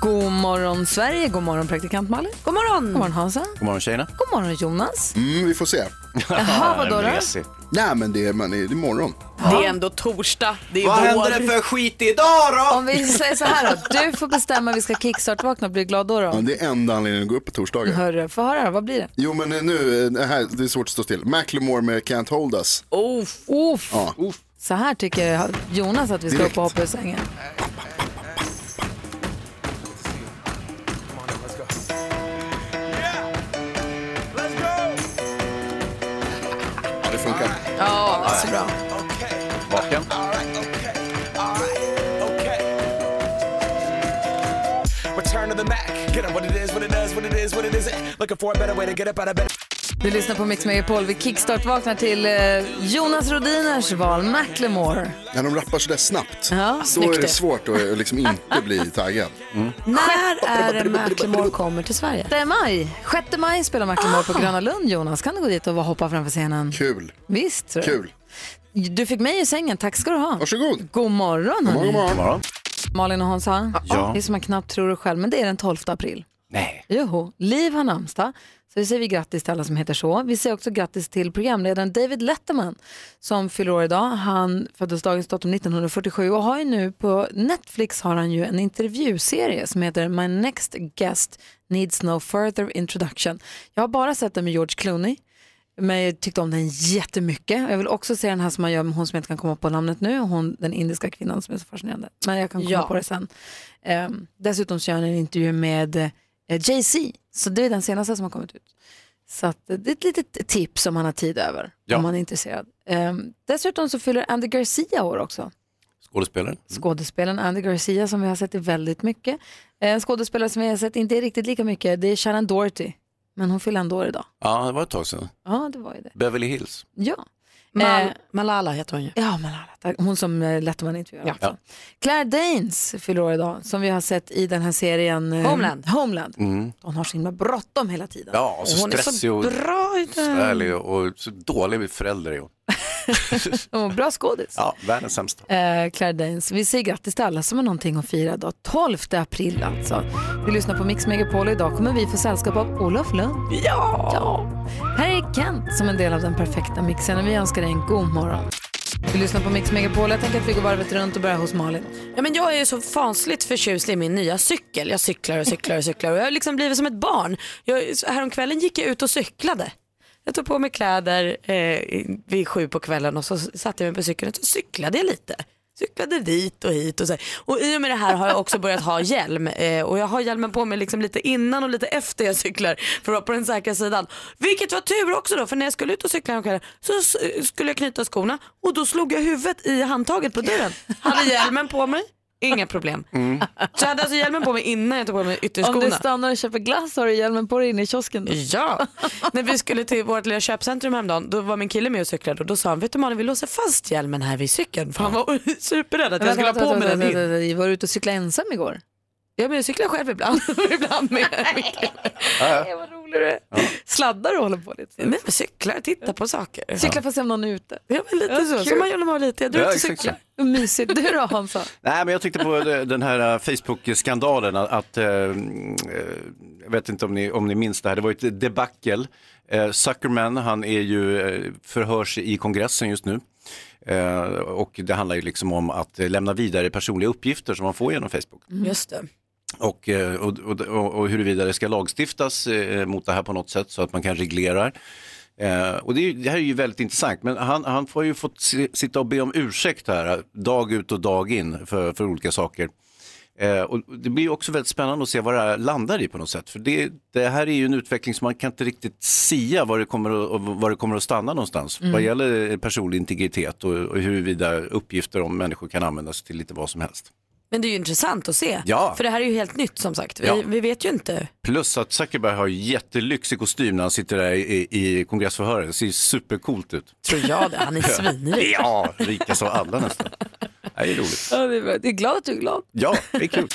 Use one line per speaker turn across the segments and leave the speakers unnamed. God morgon Sverige, god morgon praktikant Malin. God morgon. God morgon Hansa.
God morgon tjejerna.
God morgon Jonas.
Mm, vi får se.
Jaha, vadå då?
Mesigt.
Nej, men det är, men det är imorgon.
Det är ändå torsdag, det är
Vad
vår.
händer det för skit idag då?
Om vi säger så här då, du får bestämma vi ska kickstart-vakna och bli glad då.
Ja,
då.
det är enda anledningen att gå upp på torsdagar.
Hörru, få höra vad blir det?
Jo, men eh, nu, eh, det här, det är svårt att stå still. Macklemore med Can't Hold Us.
Uff.
Ja.
Så här tycker Jonas att vi ska
Direkt.
hoppa upp ur sängen.
Ja, det funkar.
Vaken.
Return of the Mac. Get up what it is, what it does, what it is, what it isn't. Looking for a better way to get up out of bed.
Du lyssnar på Mix Megapol. Vi kickstart-vaknar till eh, Jonas Rodiners val, Macklemore.
När de rappar sådär snabbt,
Ja,
då är
Ah, snyggt.
det svårt att eh, liksom inte bli taggad.
Mm.
När är det Macklemore kommer till Sverige? Ah. 6 maj. 6 maj spelar Macklemore på Gröna Lund, Jonas. Kan du gå dit och hoppa framför scenen?
Kul,
Visst. tror jag.
kul.
Du fick mig i sängen. Tack ska du ha.
Varsågod.
God morgon,
God
hörni.
morgon, god morgon.
Malin och Hansa.
Ja.
Det är som man knappt tror det själv, men det är den 12 april.
Nej.
Joho, Liv har namnsdag. Så vi säger vi grattis till alla som heter så. Vi säger också grattis till programledaren David Letterman som fyller år idag. Han föddes dagens datum 1947 och har ju nu på Netflix har han ju en intervjuserie som heter My Next Guest Needs No Further Introduction. Jag har bara sett den med George Clooney. Men jag tyckte om den jättemycket. Jag vill också se den här som man gör med hon som jag inte kan komma på namnet nu. Hon, den indiska kvinnan som är så fascinerande. Men jag kan komma
Ja.
på det sen. Ehm, dessutom så gör han en intervju med eh, Jay-Z. Så det är den senaste som har kommit ut. Så att, eh, det är ett litet tips om man har tid över.
Ja.
Om man är intresserad. Ehm, dessutom så fyller Andy Garcia år också.
Skådespelaren.
Skådespelaren Andy Garcia som vi har sett i väldigt mycket. Eh, En skådespelare som vi har sett inte riktigt lika mycket det är Shannon Doherty. Men hon fyller ändå år idag.
Ja, det var ett tag sedan.
Ja, det var ju det.
Beverly Hills.
Ja. Eh,
Mal- Malala heter hon ju.
Ja, Malala. Tack. Hon som eh, Letterman intervjuade.
Ja.
Också. Claire Danes fyller år idag, som vi har sett i den här serien eh,
Homeland.
Homeland.
Mm.
Hon har så himla bråttom hela tiden.
Ja, och så
hon är
stressig
så
och
bra i den.
Ärlig och så dålig förälder är hon.
Hon är bra skådis.
Ja, världens sämsta.
Eh, Claire Danes. Vi säger grattis till alla som har någonting att fira idag. 12 april alltså. Vi lyssnar på Mix Megapol och idag kommer vi få sällskap av Olof Lund. Ja! Här är Kent som en del av den perfekta mixen och vi önskar dig en god morgon. Vi lyssnar på Mix Megapol. Jag tänker att vi går varvet runt och börjar hos Malin.
Ja, men jag är ju så fansligt förtjust i min nya cykel. Jag cyklar och cyklar och cyklar och jag har liksom blivit som ett barn. Jag, så häromkvällen gick jag ut och cyklade. Jag tog på mig kläder eh, vid sju på kvällen och så satte jag mig på cykeln och så cyklade jag lite. Cyklade dit och hit och så. här. Och i och med det här har jag också börjat ha hjälm. Eh, och jag har hjälmen på mig liksom lite innan och lite efter jag cyklar för att vara på den säkra sidan. Vilket var tur också då för när jag skulle ut och cykla häromkvällen så s- skulle jag knyta skorna och då slog jag huvudet i handtaget på dörren. Hade hjälmen på mig. Inga problem. Så jag hade alltså hjälmen på mig innan jag tog på mig
Om du
ytterskorna.
stannar och köper glass har du hjälmen på dig inne i kiosken. Då.
Ja, när vi skulle till vårt lilla köpcentrum häromdagen då var min kille med och cyklade och då sa han, vet du Malin vi låser fast hjälmen här vid cykeln för han var superrädd att jag skulle ha på mig den. in.
Var du ute och cyklade ensam igår?
Ja men jag cyklar själv ibland. ibland med.
Äh.
Nej, vad rolig du är. Sladdar och håller på lite.
Nej men cyklar, titta på saker.
Cykla för att se om någon är ute.
Ja men lite så, som man gör när man var liten. Jag
Ja,
drog till
exakt
cyklar.
Vad Mysigt. Du då Hansa?
Nej, men jag tänkte på det- den här eh, Facebook-skandalen att, att eh, eh, jag vet inte om ni, om ni minns det här, det var ju ett debacle. Eh, Zuckerman, han är ju eh, förhörs i kongressen just nu. Eh, och det handlar ju liksom om att eh, lämna vidare personliga uppgifter som man får genom Facebook.
Just det.
Och, eh, och, och, och, och huruvida det ska lagstiftas eh, mot det här på något sätt så att man kan reglera. Eh, och det, är, ju- det här är ju väldigt intressant, men han, han får ju fått si- sitta och be om ursäkt här, eh, dag ut och dag in för, för olika saker. Eh, och det blir ju också väldigt spännande att se vad det här landar i på något sätt, för det, det här är ju en utveckling som man kan inte riktigt sia var det kommer att, och var det kommer att stanna någonstans vad gäller personlig integritet och, och huruvida uppgifter om människor kan användas till lite vad som helst.
Men det är ju intressant att se.
Ja.
För det här är ju helt nytt som sagt. Vi,
Ja.
vi vet ju inte.
Plus att Zuckerberg har jättelyxig kostym när han sitter där i, i kongressförhöret. Det ser supercoolt ut.
Tror jag det. Han är svinrik.
Ja, rikast av alla nästan. Det är roligt.
Ja, det är bra. Jag är glad att du är glad.
Ja, det är kul.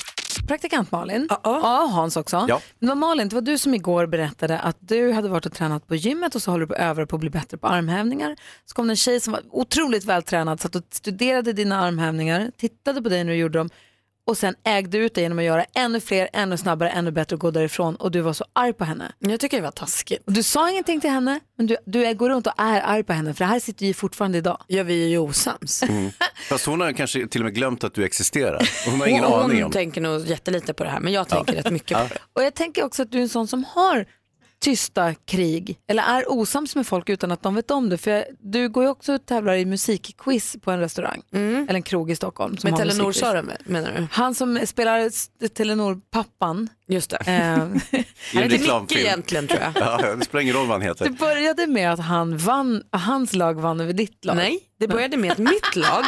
Praktikant Malin. Ja, Hans också.
Ja.
Men vad Malin, det var du som igår berättade att du hade varit och tränat på gymmet och så håller du på att öva på att bli bättre på armhävningar. Så kom det en tjej som var otroligt vältränad, satt och studerade dina armhävningar, tittade på dig när du gjorde dem och sen ägde ut dig genom att göra ännu fler, ännu snabbare, ännu bättre och gå därifrån och du var så arg på henne.
Jag tycker det var taskigt.
Du sa ingenting till henne, men du, du är- går runt och är arg på henne för det här sitter ju fortfarande idag.
Ja, vi är ju osams.
Mm. Fast hon har kanske till och med glömt att du existerar. Hon har ingen
hon
aning om det.
tänker nog jättelite på det här men jag tänker rätt mycket på det.
Och jag tänker också att du är en sån som har tysta krig eller är osams med folk utan att de vet om det. För jag, du går ju också och tävlar i musikquiz på en restaurang eller en krog i Stockholm. Som
Mm. Med
har
Telenor
musikquiz.
Sören menar du?
Han som spelar s- Telenor-pappan.
Just det.
Eh,
I
Han
en
heter Micke
reklamfilm.
egentligen tror jag.
Ja, det spelar ingen roll vad han
det
heter.
började med att han vann, hans lag vann över ditt lag.
Nej, det började med att mitt lag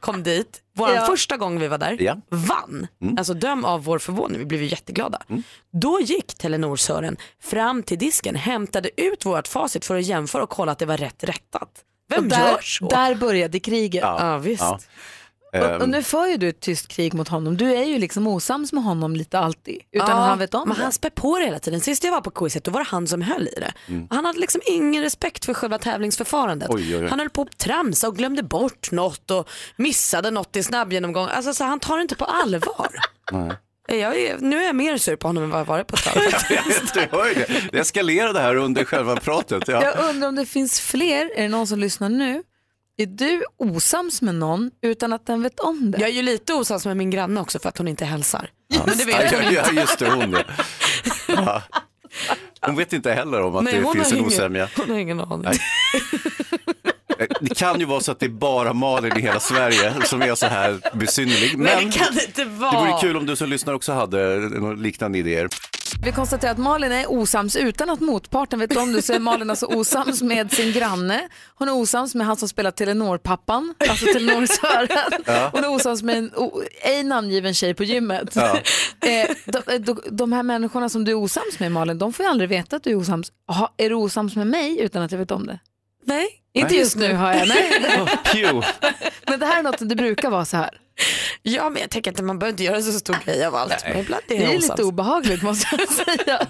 kom dit, vår
Ja.
första gång vi var där,
Ja. Mm.
vann. Alltså döm av vår förvåning, vi blev ju jätteglada. Då gick Telenor Sören fram till disken, hämtade ut vårt facit för att jämföra och kolla att det var rätt rättat. Vem
Och där,
gör så?
där började kriget.
Ja, visst.
Ja.
Ehm,
Och, och nu för ju du ett tyst krig mot honom. Du är ju liksom osams med honom lite alltid utan
Ja,
att han vet om
men
det.
han spär på det hela tiden. Sist jag var på quizet då var det han som höll i det.
Mm.
Han hade liksom ingen respekt för själva tävlingsförfarandet.
Oj, oj, oj.
Han höll på att tramsa och glömde bort något och missade något i snabbgenomgång. Alltså så han tar det inte på allvar. jag är, nu är jag mer sur på honom än vad jag varit på ett tag.
Du hör ju det. Det eskalerade här under själva pratet. Ja.
Jag undrar om det finns fler, är det någon som lyssnar nu? Är du osams med någon utan att den vet om det?
jag är ju lite osams med min granne också för att hon inte hälsar. Men det vet
Ja,
hon
ja, just det, hon det. Ja. Hon vet inte heller om att
Nej,
det
hon,
finns
har
en
ingen,
osämja. Eh,
hon har ingen aning.
Det kan ju vara så att det är bara Malin i hela Sverige som är så här besynnerlig.
Nej,
Men
det kan det inte vara.
det vore kul om du som lyssnar också hade några liknande idéer.
Vi konstaterar att Malin är osams utan att motparten vet om det. Så är Malin alltså osams med sin granne. Hon är osams med han som spelar Telenor-pappan, alltså Telenor-Sören. Hon är osams med en o- ej namngiven tjej på gymmet. Eh, de, de, de här människorna som du är osams med Malin, de får ju aldrig veta att du är osams. Aha, är du osams med mig utan att jag vet om det?
Nej.
Inte just nu har jag, nej.
Pew.
Men det här är något det brukar vara så här.
Ja, men jag tänker att man behöver inte göra så stor grej av allt. Men ibland är
Det
jag
är
osams.
lite obehagligt måste jag säga.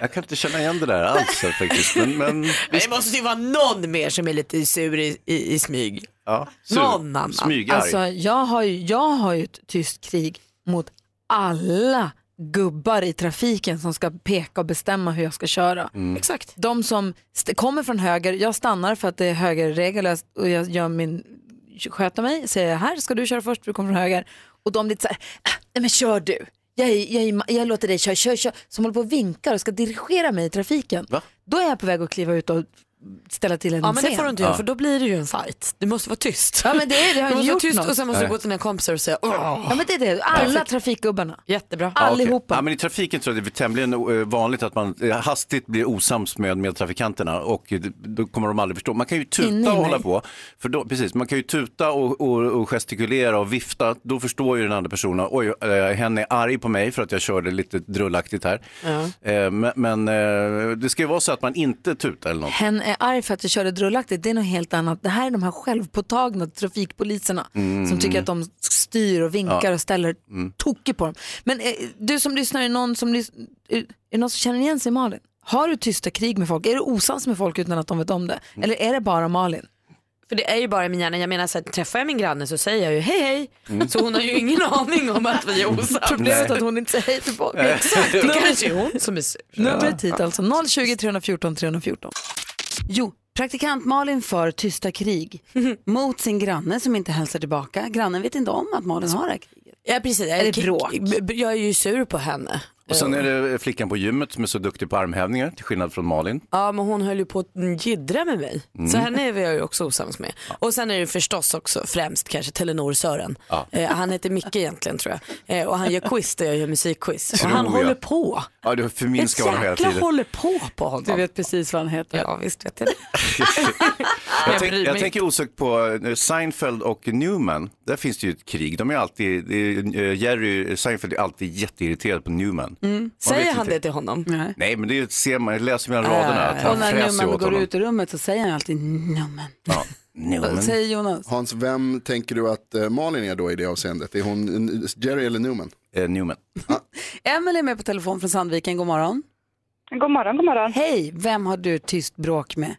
Jag kan inte känna igen det där alls här, faktiskt. Men, men
Men det måste ju vara någon mer som är lite sur i, i, i smyg.
ja,
Någon annan.
smygarg.
Alltså, jag, har ju, jag har ju ett tyst krig mot alla gubbar i trafiken som ska peka och bestämma hur jag ska köra.
Mm.
Exakt.
De som st- kommer från höger, jag stannar för att det är högerregel och jag- och jag gör min, sköter mig, säger här ska du köra först för du kommer från höger. Och de lite så här, "Ah, nej men kör du. Jag, är- jag, är- jag låter dig köra, kör, kör. Som håller på och vinkar och ska dirigera mig i trafiken.
Va?
Då är jag på väg att kliva ut och ställa till en
Ja men det
scen.
får du inte göra för då blir det ju en fight. Du måste vara tyst.
Ja men det är det, jag
du måste
har inte
vara
gjort
tyst
något.
och sen måste du gå till dina kompisar och säga åh.
Ja men det är det, alla trafikgubbarna.
Jättebra.
Ja, okej.
Allihopa.
Ja, men I trafiken tror jag det är tämligen eh, vanligt att man eh, hastigt blir osams med medtrafikanterna och eh, då kommer de aldrig förstå. Man kan ju
Inne i
tuta och hålla
mig.
på. För då, precis, man kan ju tuta och, och, och gestikulera och vifta. Då förstår ju den andra personen, oj, eh, hen är arg på mig för att jag körde lite drullaktigt här. Eh, men men eh, det ska ju vara så att man inte tutar eller något.
Hen är arg för att jag körde drullaktigt, det är något helt annat. Det här är de här självpåtagna trafikpoliserna som tycker att de styr och vinkar och ställer
Mm.
tokig på dem. Men eh, du som lyssnar, är det någon som, lys- eh, är är det någon som känner igen sig i Malin? Har du tysta krig med folk? Är du osams med folk utan att de vet om det? Eller är det bara Malin?
För det är ju bara i min hjärna, jag menar så här, träffar jag min granne så säger jag ju hej hej.
Mm.
Så hon har ju ingen aning om att vi är osams.
Problemet är att hon inte säger hej till folk.
Exakt, det kanske är hon som är sur.
Numret hit alltså, 020 314 314.
Jo, praktikant Malin för tysta krig mot sin granne som inte hälsar tillbaka. Grannen vet inte om att Malin har det här kriget.
Ja precis, jag
Eller
k-
bråk.
b- b- Jag är ju sur på henne.
Och sen är det flickan på gymmet som är så duktig på armhävningar, till skillnad från Malin.
Ja men hon höll ju på att mm, jiddra med mig. Så henne är vi ju också osams med. Och sen är det förstås också främst kanske Telenor Sören. Eh, han heter Micke egentligen tror jag. Eh, och han gör quiz där jag gör musikquiz. Och han
jag.
håller på.
Ja, du förminskar honom hela
Ett jäkla
tiden.
håller på på honom.
vet precis vad han heter.
Ja visst vet jag det.
Jag, tänk,
bryr mig
jag tänker osökt på eh, Seinfeld och Newman. Där finns det ju ett krig. De är alltid, det är, eh, Jerry Seinfeld är alltid jätteirriterad på Newman. Man vet
Säger
inte-
han det till honom?
Nej, men det ser man, läser mellan raderna att
Äh, Och
han
när
fräser
Newman
åt
går
honom.
ut ur rummet så säger han alltid Newman.
Ja, Newman.
Säger Jonas.
Hans, vem tänker du att eh, Malin är då i det avseendet? Är hon eh, Jerry eller Newman?
Eh, Newman.
Emelie är med på telefon från Sandviken, god morgon.
God morgon, god morgon.
Hej, vem har du tyst bråk med?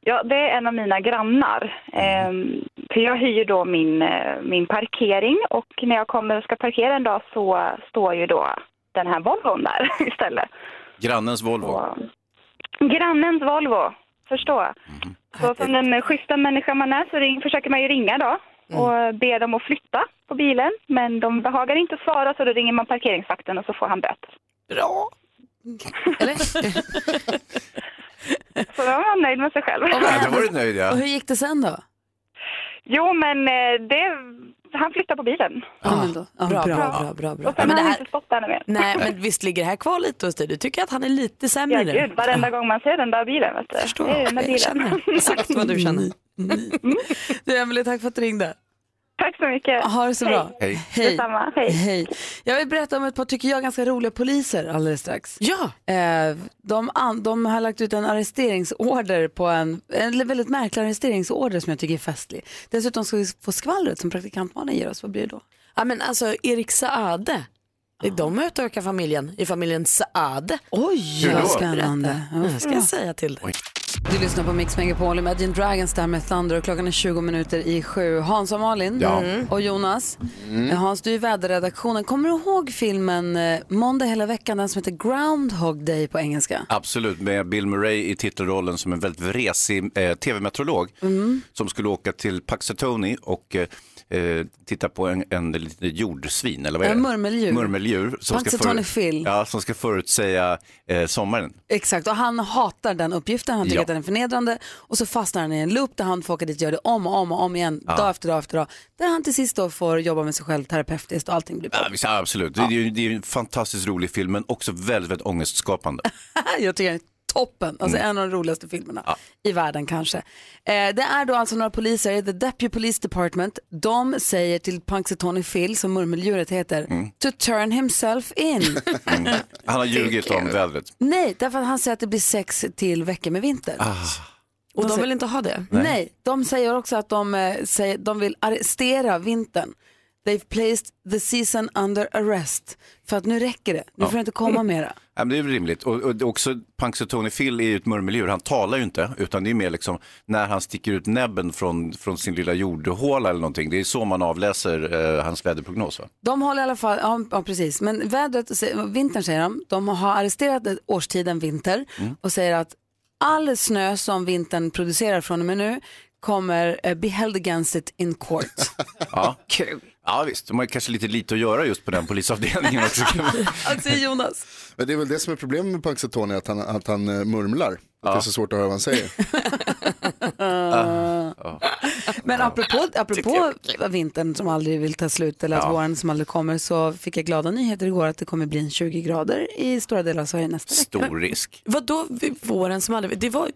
Ja, det är en av mina grannar.
Mm.
Ehm, för jag hyr då min, eh, min parkering och när jag kommer och ska parkera en dag så står ju då den här Volvon där istället.
Grannens Volvo.
Och, grannens Volvo, förstå.
Mm-hmm.
Så som den schyssta människa man är så ring, försöker man ju ringa då
Mm.
och be dem att flytta på bilen. Men de behagar inte svara så då ringer man parkeringsvakten och så får han böter.
Eller?
Så då är man nöjd med sig själv.
Ja, då var du nöjd
Och
ja.
hur gick det sen då?
Jo, men eh, det, han flyttar på bilen.
Ja, men då. Ja,
Bra,
bra.
bra, bra, bra. bra.
Och
Ja,
sen
men
har
det
han
här,
inte spottat henne mer.
nej, men visst ligger det här kvar lite hos dig? Du tycker att han är lite
Ja,
sämre nu?
gud, varenda gång man ser den där bilen, vet du.
Förstår.
det är den där
Jag
bilen.
känner exakt vad du känner.
Du Emelie, tack för att du ringde.
Tack så mycket.
Ha det så bra.
Hej.
Hej.
Detsamma. Hej.
Hej. Jag vill berätta om ett par, tycker jag, ganska roliga poliser alldeles strax.
Ja,
Eh, de, an, de har lagt ut en arresteringsorder på en, en väldigt märklig arresteringsorder som jag tycker är festlig. Dessutom ska vi få skvallret som praktikantmannen ger oss. Vad blir det då?
ja men alltså Erik Saade. De utökar familjen i familjen Saade.
Oj,
Hur
vad
då?
spännande. Ja,
Det ska jag säga till dig.
Du lyssnar på Mix Megapol, Imagine Dragons där med Thunder och klockan är 20 minuter i sju. Hans och Malin Mm.
Ja. Mm.
och Jonas. Eh, Hans, du är i väderredaktionen. Kommer du ihåg filmen eh, Måndag hela veckan, den som heter Groundhog Day på engelska?
Absolut, med Bill Murray i titelrollen som en väldigt vresig eh, tv-meteorolog
Mm.
som skulle åka till Paxatoni och eh, eh, titta på en, en liten jordsvin, eller vad är
Eh,
det?
murmeldjur.
Murmeldjur. Som ska,
Punxsutawney Phil.
ja, som ska förutsäga eh, sommaren.
Exakt, och han hatar den uppgiften, han tycker
Ja.
att den är förnedrande och så fastnar han i en loop där han får åka dit och göra det om och om och om igen, dag efter dag efter dag. Där han till sist då får jobba med sig själv terapeutiskt och allting blir bra.
Ja, visst, absolut, det, är ju, det är ju en fantastiskt rolig film men också väldigt, väldigt ångestskapande.
Jag tycker den är toppen, alltså en av de roligaste filmerna i världen kanske. Eh, det är då alltså några poliser i The Deputy Police Department, de säger till Punxsutawney Phil, som murmeldjuret heter, to turn himself in.
Han har ljugit om vädret.
Nej, därför att han säger att det blir sex till veckor med vinter.
Ah.
Och de vill inte ha det.
Nej. de säger också att de, eh, säger, de vill arrestera vintern. They've placed the season under arrest. För att nu räcker det, nu får det inte komma mera.
Ja, men det är väl rimligt. Och, och det är också Punxsutawney Phil är ju ett murmeldjur. Han talar ju inte, utan det är mer liksom när han sticker ut näbben från, från sin lilla jordhåla eller någonting. Det är så man avläser eh, hans väderprognos. Va?
De håller i alla fall, ja, ja precis, men vädret, se- vintern säger de, de har arresterat årstiden vinter och säger att all snö som vintern producerar från och med nu kommer eh, be held against it in court.
Ja. Kul. Ja visst, de har kanske lite lite att göra just på den polisavdelningen också. kan man-
Vad säger Jonas?
Men det är väl det som är problemet med Punxsutawney, att han, att han eh, murmlar. Att det är så svårt att höra vad han säger.
Eh, Men apropå, apropå vintern som aldrig vill ta slut eller att våren som aldrig kommer så fick jag glada nyheter igår att det kommer bli en 20 grader i stora delar av Sverige nästa vecka.
Stor risk.
Vadå vid våren som aldrig... Det var,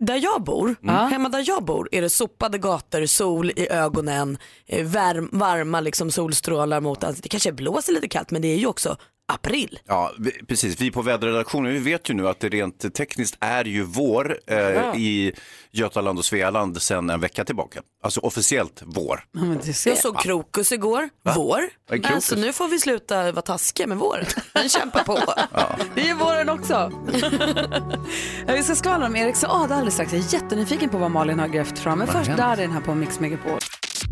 där jag bor,
Mm.
hemma där jag bor är det sopade gator, sol i ögonen, eh, värm, varma liksom solstrålar mot ansiktet. Det kanske blåser lite kallt men det är ju också april.
Ja, vi, precis. Vi på väderredaktionen, vi vet ju nu att det rent tekniskt är ju vår eh, i Götaland och Svealand sedan en vecka tillbaka. Alltså officiellt vår.
Ja, men du
Jag
ser.
såg krokus igår, vår.
Vad är krokus?
Alltså, nu får vi sluta vara taskiga med våren. Vi kämpar på.
Det är våren också. Ja, Vi ska skvallra om Erik Saade alldeles strax. Jag är jättenyfiken på vad Malin har grävt fram. Men först Darin här på Mix Megapol.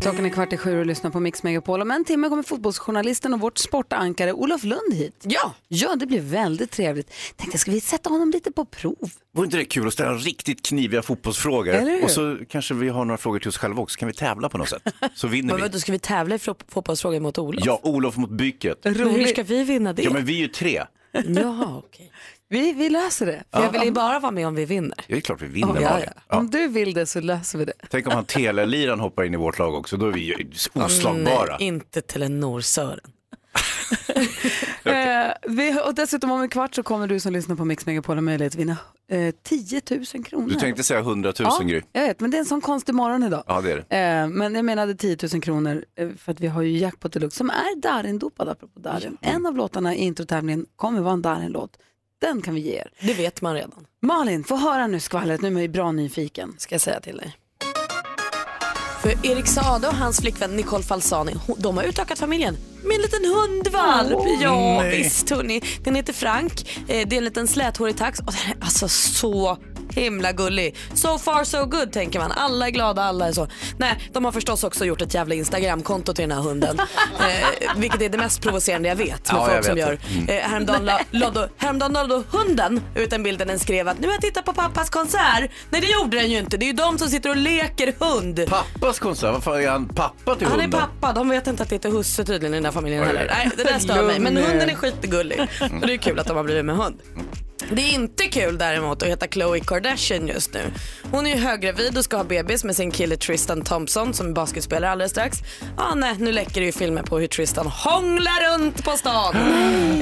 Klockan är kvart i sju och lyssnar på Mix Megapol. Om en timme kommer fotbollsjournalisten och vårt sportankare Olof Lund hit.
Ja,
Ja, det blir väldigt trevligt. Tänkte, ska vi sätta honom lite på prov?
Vore inte det kul att ställa riktigt kniviga
Eller hur?
fotbollsfrågor? Och så kanske vi har några frågor till oss själva också, kan vi tävla på något sätt? Så vinner
men
vi.
då ska vi tävla i fro- fotbollsfrågan mot Olof?
Ja, Olof mot Byket.
Men hur ska vi vinna det?
Ja, men vi är ju tre.
Jaha, okej.
Vi, vi löser det. För jag
Jag vill ju bara vara med om vi vinner.
Det är klart vi vinner,
ja,
Malin.
ja.
Ja.
Om du vill det så löser vi det.
Tänk om han Teleliran
Mm,
hoppar in i vårt lag också, då är vi ju oslagbara.
Nej, inte Telenor-Sören.
Eh, vi, och dessutom om en kvart så kommer du som lyssnar på Mix Megapol ha möjlighet att vinna eh, 10 000 kronor.
Du tänkte säga 100 000
ja,
Gry.
jag vet, men det är en sån konstig morgon idag.
Ja, det är det.
Eh, men jag menade 10 000 kronor eh, för att vi har ju jackpot deluxe som är Darin-dopad apropå Darin. En av låtarna i introtävlingen kommer vara en Darin-låt. Den kan vi ge er.
Det vet man redan,
Malin, få höra nu skvallret. Nu är man ju bra nyfiken.
ska jag säga till dig. För Erik Sade och hans flickvän Nicole Falsani, hon- de har utökat familjen med en liten hundvalp. ja, visst hörni. Den heter Frank. Eh, Det är en liten släthårig tax och den är alltså så himla gullig. So far so good tänker man. Alla är glada, alla är så. Nej, de har förstås också gjort ett jävla Instagramkonto till den här hunden. eh, vilket är det mest provocerande jag vet med
Ja,
folk
jag
som
vet
gör.
det. Mm.
Eh, häromdagen, la, la då, häromdagen la då hunden ut en bild där den skrev att nu har jag tittat på pappas konsert. Nej det gjorde den ju inte. Det är ju de som sitter och leker hund.
Pappas konsert, vad fan är han pappa till
Han är
hunden?
pappa, de vet inte att det heter husse tydligen i den där familjen
Oj,
heller.
oj.
Nej, det där stör mig. Men
Lugn ner.
hunden är skitgullig. Och det är kul att de har blivit med hund. Det är inte kul däremot att heta Khloe Kardashian just nu. Hon är ju höggravid och ska ha bebis med sin kille Tristan Thompson som är basketspelare alldeles strax. Ah, nej, nu läcker det ju filmer på hur Tristan hånglar runt på stan.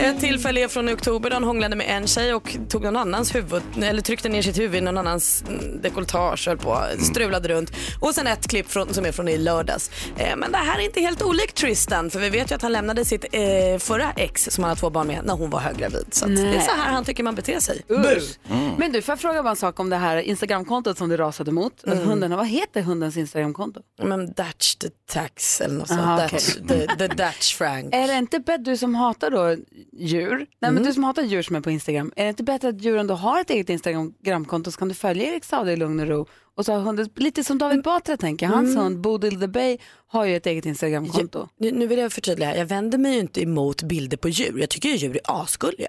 Ett tillfälle är från i oktober då han hånglade med en tjej och tog någon annans huvud, eller tryckte ner sitt huvud i någon annans mm, dekolletage, höll på, strulade runt. Och sen ett klipp från, som är från i lördags. Eh, men det här är inte helt olikt Tristan för vi vet ju att han lämnade sitt eh, förra ex som han har två barn med när hon var höggravid. Så att det är
Nej.
så här han tycker man beter sig.
Usch. Men du, får jag fråga bara en sak om det här Instagramkontot som du rasade mot? Mm. Hundarna, vad heter hundens Instagramkonto?
Men Dutch the Tax eller något
Aha,
sånt.
okej.
Dutch, the, the Dutch Frank. Mm.
Är det inte bättre, du som hatar då djur, nej men du som hatar djur som är på Instagram, är det inte bättre att djuren då har ett eget Instagramkonto så kan du följa Erik Saade i lugn och ro? Och så har hunden, lite som
Mm.
David Batra tänker, hans hund Bodil the Bay har ju ett eget Instagramkonto.
Nu, nu vill jag förtydliga, här. jag vänder mig ju inte emot bilder på djur. Jag tycker ju djur är asgulliga.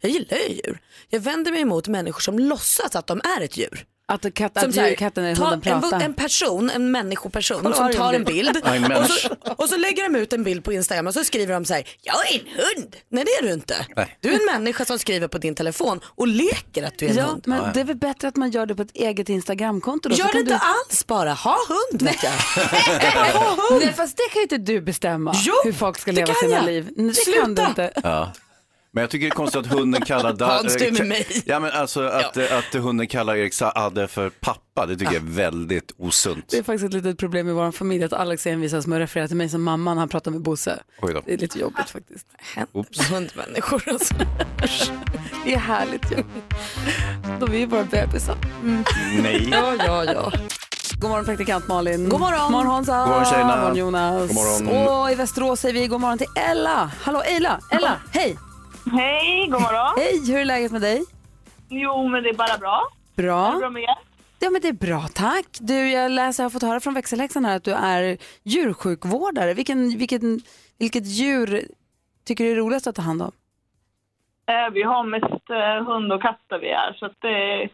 Jag gillar ju djur. Jag vänder mig emot människor som låtsas att de är ett djur.
Att, katt,
Som
att
så här,
djur, katten eller
ta
hunden
en,
pratar.
vux- en person, en människoperson som
Arjen,
tar en
du.
bild
en
och
människa.
så, och så lägger de ut en bild på Instagram och så skriver de så här, jag är en hund. Nej det är du inte.
Nej.
Du är en människa som skriver på din telefon och leker att du är en
Ja,
hund.
men det är väl bättre att man gör det på ett eget Instagramkonto då? så
Gör det
kan
inte
du...
alls bara, ha hund vet jag. ha hund.
Nej, fast det kan ju inte du bestämma
Jo,
hur folk ska
det
leva
kan
sina
jag.
liv. Nej, Det
Sluta.
kan du inte.
Ja. Men jag tycker det är konstigt att hunden kallar... Da-
Hans, du är med
eh,
mig.
Ja, men alltså att, eh, att hunden kallar Erik Saade för pappa, det tycker jag är väldigt osunt.
Det är faktiskt ett litet problem i vår familj att Alex envisas med att referera till mig som mamma när han pratar med Bosse.
Oj då.
Det är lite jobbigt faktiskt.
Oops.
Hundmänniskor alltså.
Det är härligt ju. De är ju bara bebisar.
Mm.
Nej.
Ja, ja, ja.
God morgon praktikant Malin.
God morgon.
God morgon Hansa.
God morgon, tjejerna.
God morgon Jonas.
God morgon.
Och i Västerås säger vi god morgon till Ella. Hallå Ella. Ella, hej.
Hej, god morgon.
Hej, hur är läget med dig?
Jo, men det är bara bra.
Bra.
Bra med er.
Ja men det är bra tack. Du jag läser, jag har fått höra från växelhäxan här att du är djursjukvårdare. Vilken, vilken, vilket djur tycker du är roligast att ta hand om?
Eh, Vi har mest eh, hund och katter vi är, så att det,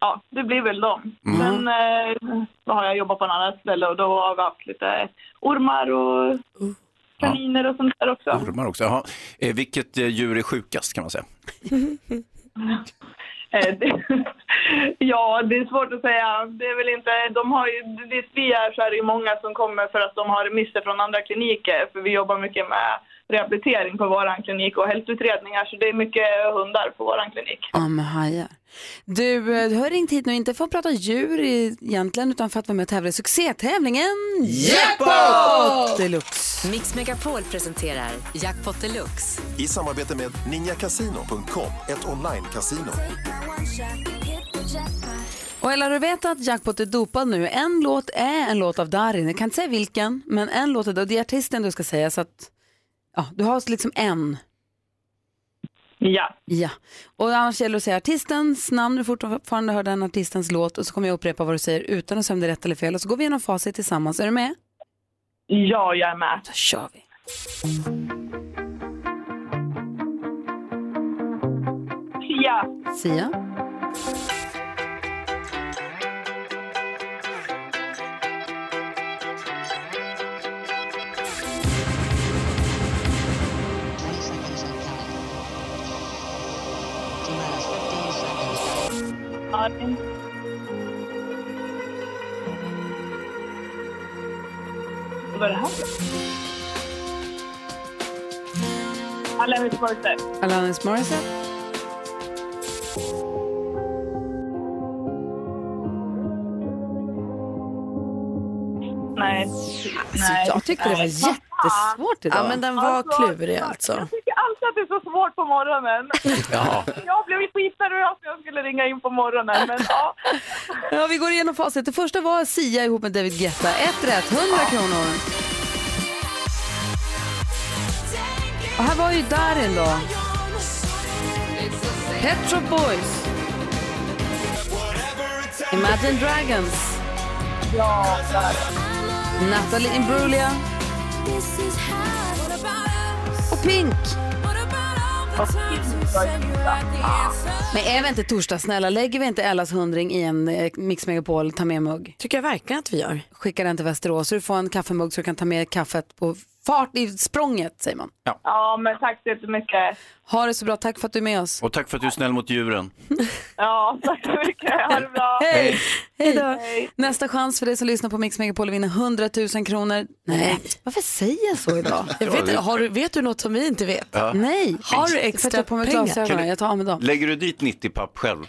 ja, det blir väl dem. Men eh, då har jag jobbat på en annan ställe och då har vi haft lite ormar och kaniner och sånt där också.
Ormar också. Jaha. Eh, vilket eh, djur är sjukast kan man säga?
Eh, det, ja, det är svårt att säga. Det är väl inte, de har ju, dit vi är så är det ju många som kommer för att de har remisser från andra kliniker, för vi jobbar mycket med rehabilitering på vår klinik och hälsoutredningar, så det är mycket hundar på vår klinik.
Ja, men hajar. Du, eh, du har ringt hit nu, inte för att prata djur i- egentligen, utan för att vara med och tävla i succétävlingen Jackpot Deluxe.
Mix Megapol presenterar Jackpot Deluxe.
I samarbete med ninjakasino.com, ett online-casino.
Och Ella, du vet att Jackpot är dopad nu. En låt är en låt av Darin, jag kan inte säga vilken, men en låt är det. Och det är artisten du ska säga, så att ja, du har liksom en.
Ja.
Ja, och annars gäller det att säga artistens namn, du fortfarande hör den artistens låt och så kommer jag upprepa vad du säger utan att säga om det är rätt eller fel och så går vi igenom facit tillsammans. Är du med?
Ja, jag är med.
Då kör vi.
Sia,
Sia.
Arvin, vad var det här?
Alanis Morissette.
Alanis Morissette.
Nej.
Nej.
Alltså, Jag tyckte det var
Nej.
jättesvårt idag.
Ja, men den var klurig alltså.
Jag tycker alltid att det är så svårt på morgonen.
Ja.
Jag blev skitnervös när jag skulle ringa in på morgonen. Men ja,
Ja, vi går igenom facit. Det första var Sia ihop med David Guetta. Ett rätt, 100 kronor. Och här var ju Darin då. Pet Shop Boys. Imagine Dragons.
Ja,
Natalie Imbruglia. Och Pink. Men är vi inte torsdag, snälla lägger vi inte Ellas hundring i en eh, Mix Megapol ta med-mugg?
Tycker jag verkligen att vi gör.
Skicka den till Västerås så du får en kaffemugg så du kan ta med kaffet på fart i språnget säger man.
ja men tack så jättemycket.
Ha det så bra, tack för att du är med oss.
Och tack för att du är snäll mot djuren.
Ja, tack så mycket. Ha det bra.
Hej! Hej då! Nästa chans för dig som lyssnar på Mix Megapol att vinna 100 000 kronor. Nej, varför säger jag så idag?
Jag vet, inte, har, du- vet du något som vi inte vet?
Ja.
Nej,
Har du
för
extra
att jag har på mig
pengar?
Kan
glasögonen,
du-
jag tar av mig dem.
Lägger du dit 90 papp själv?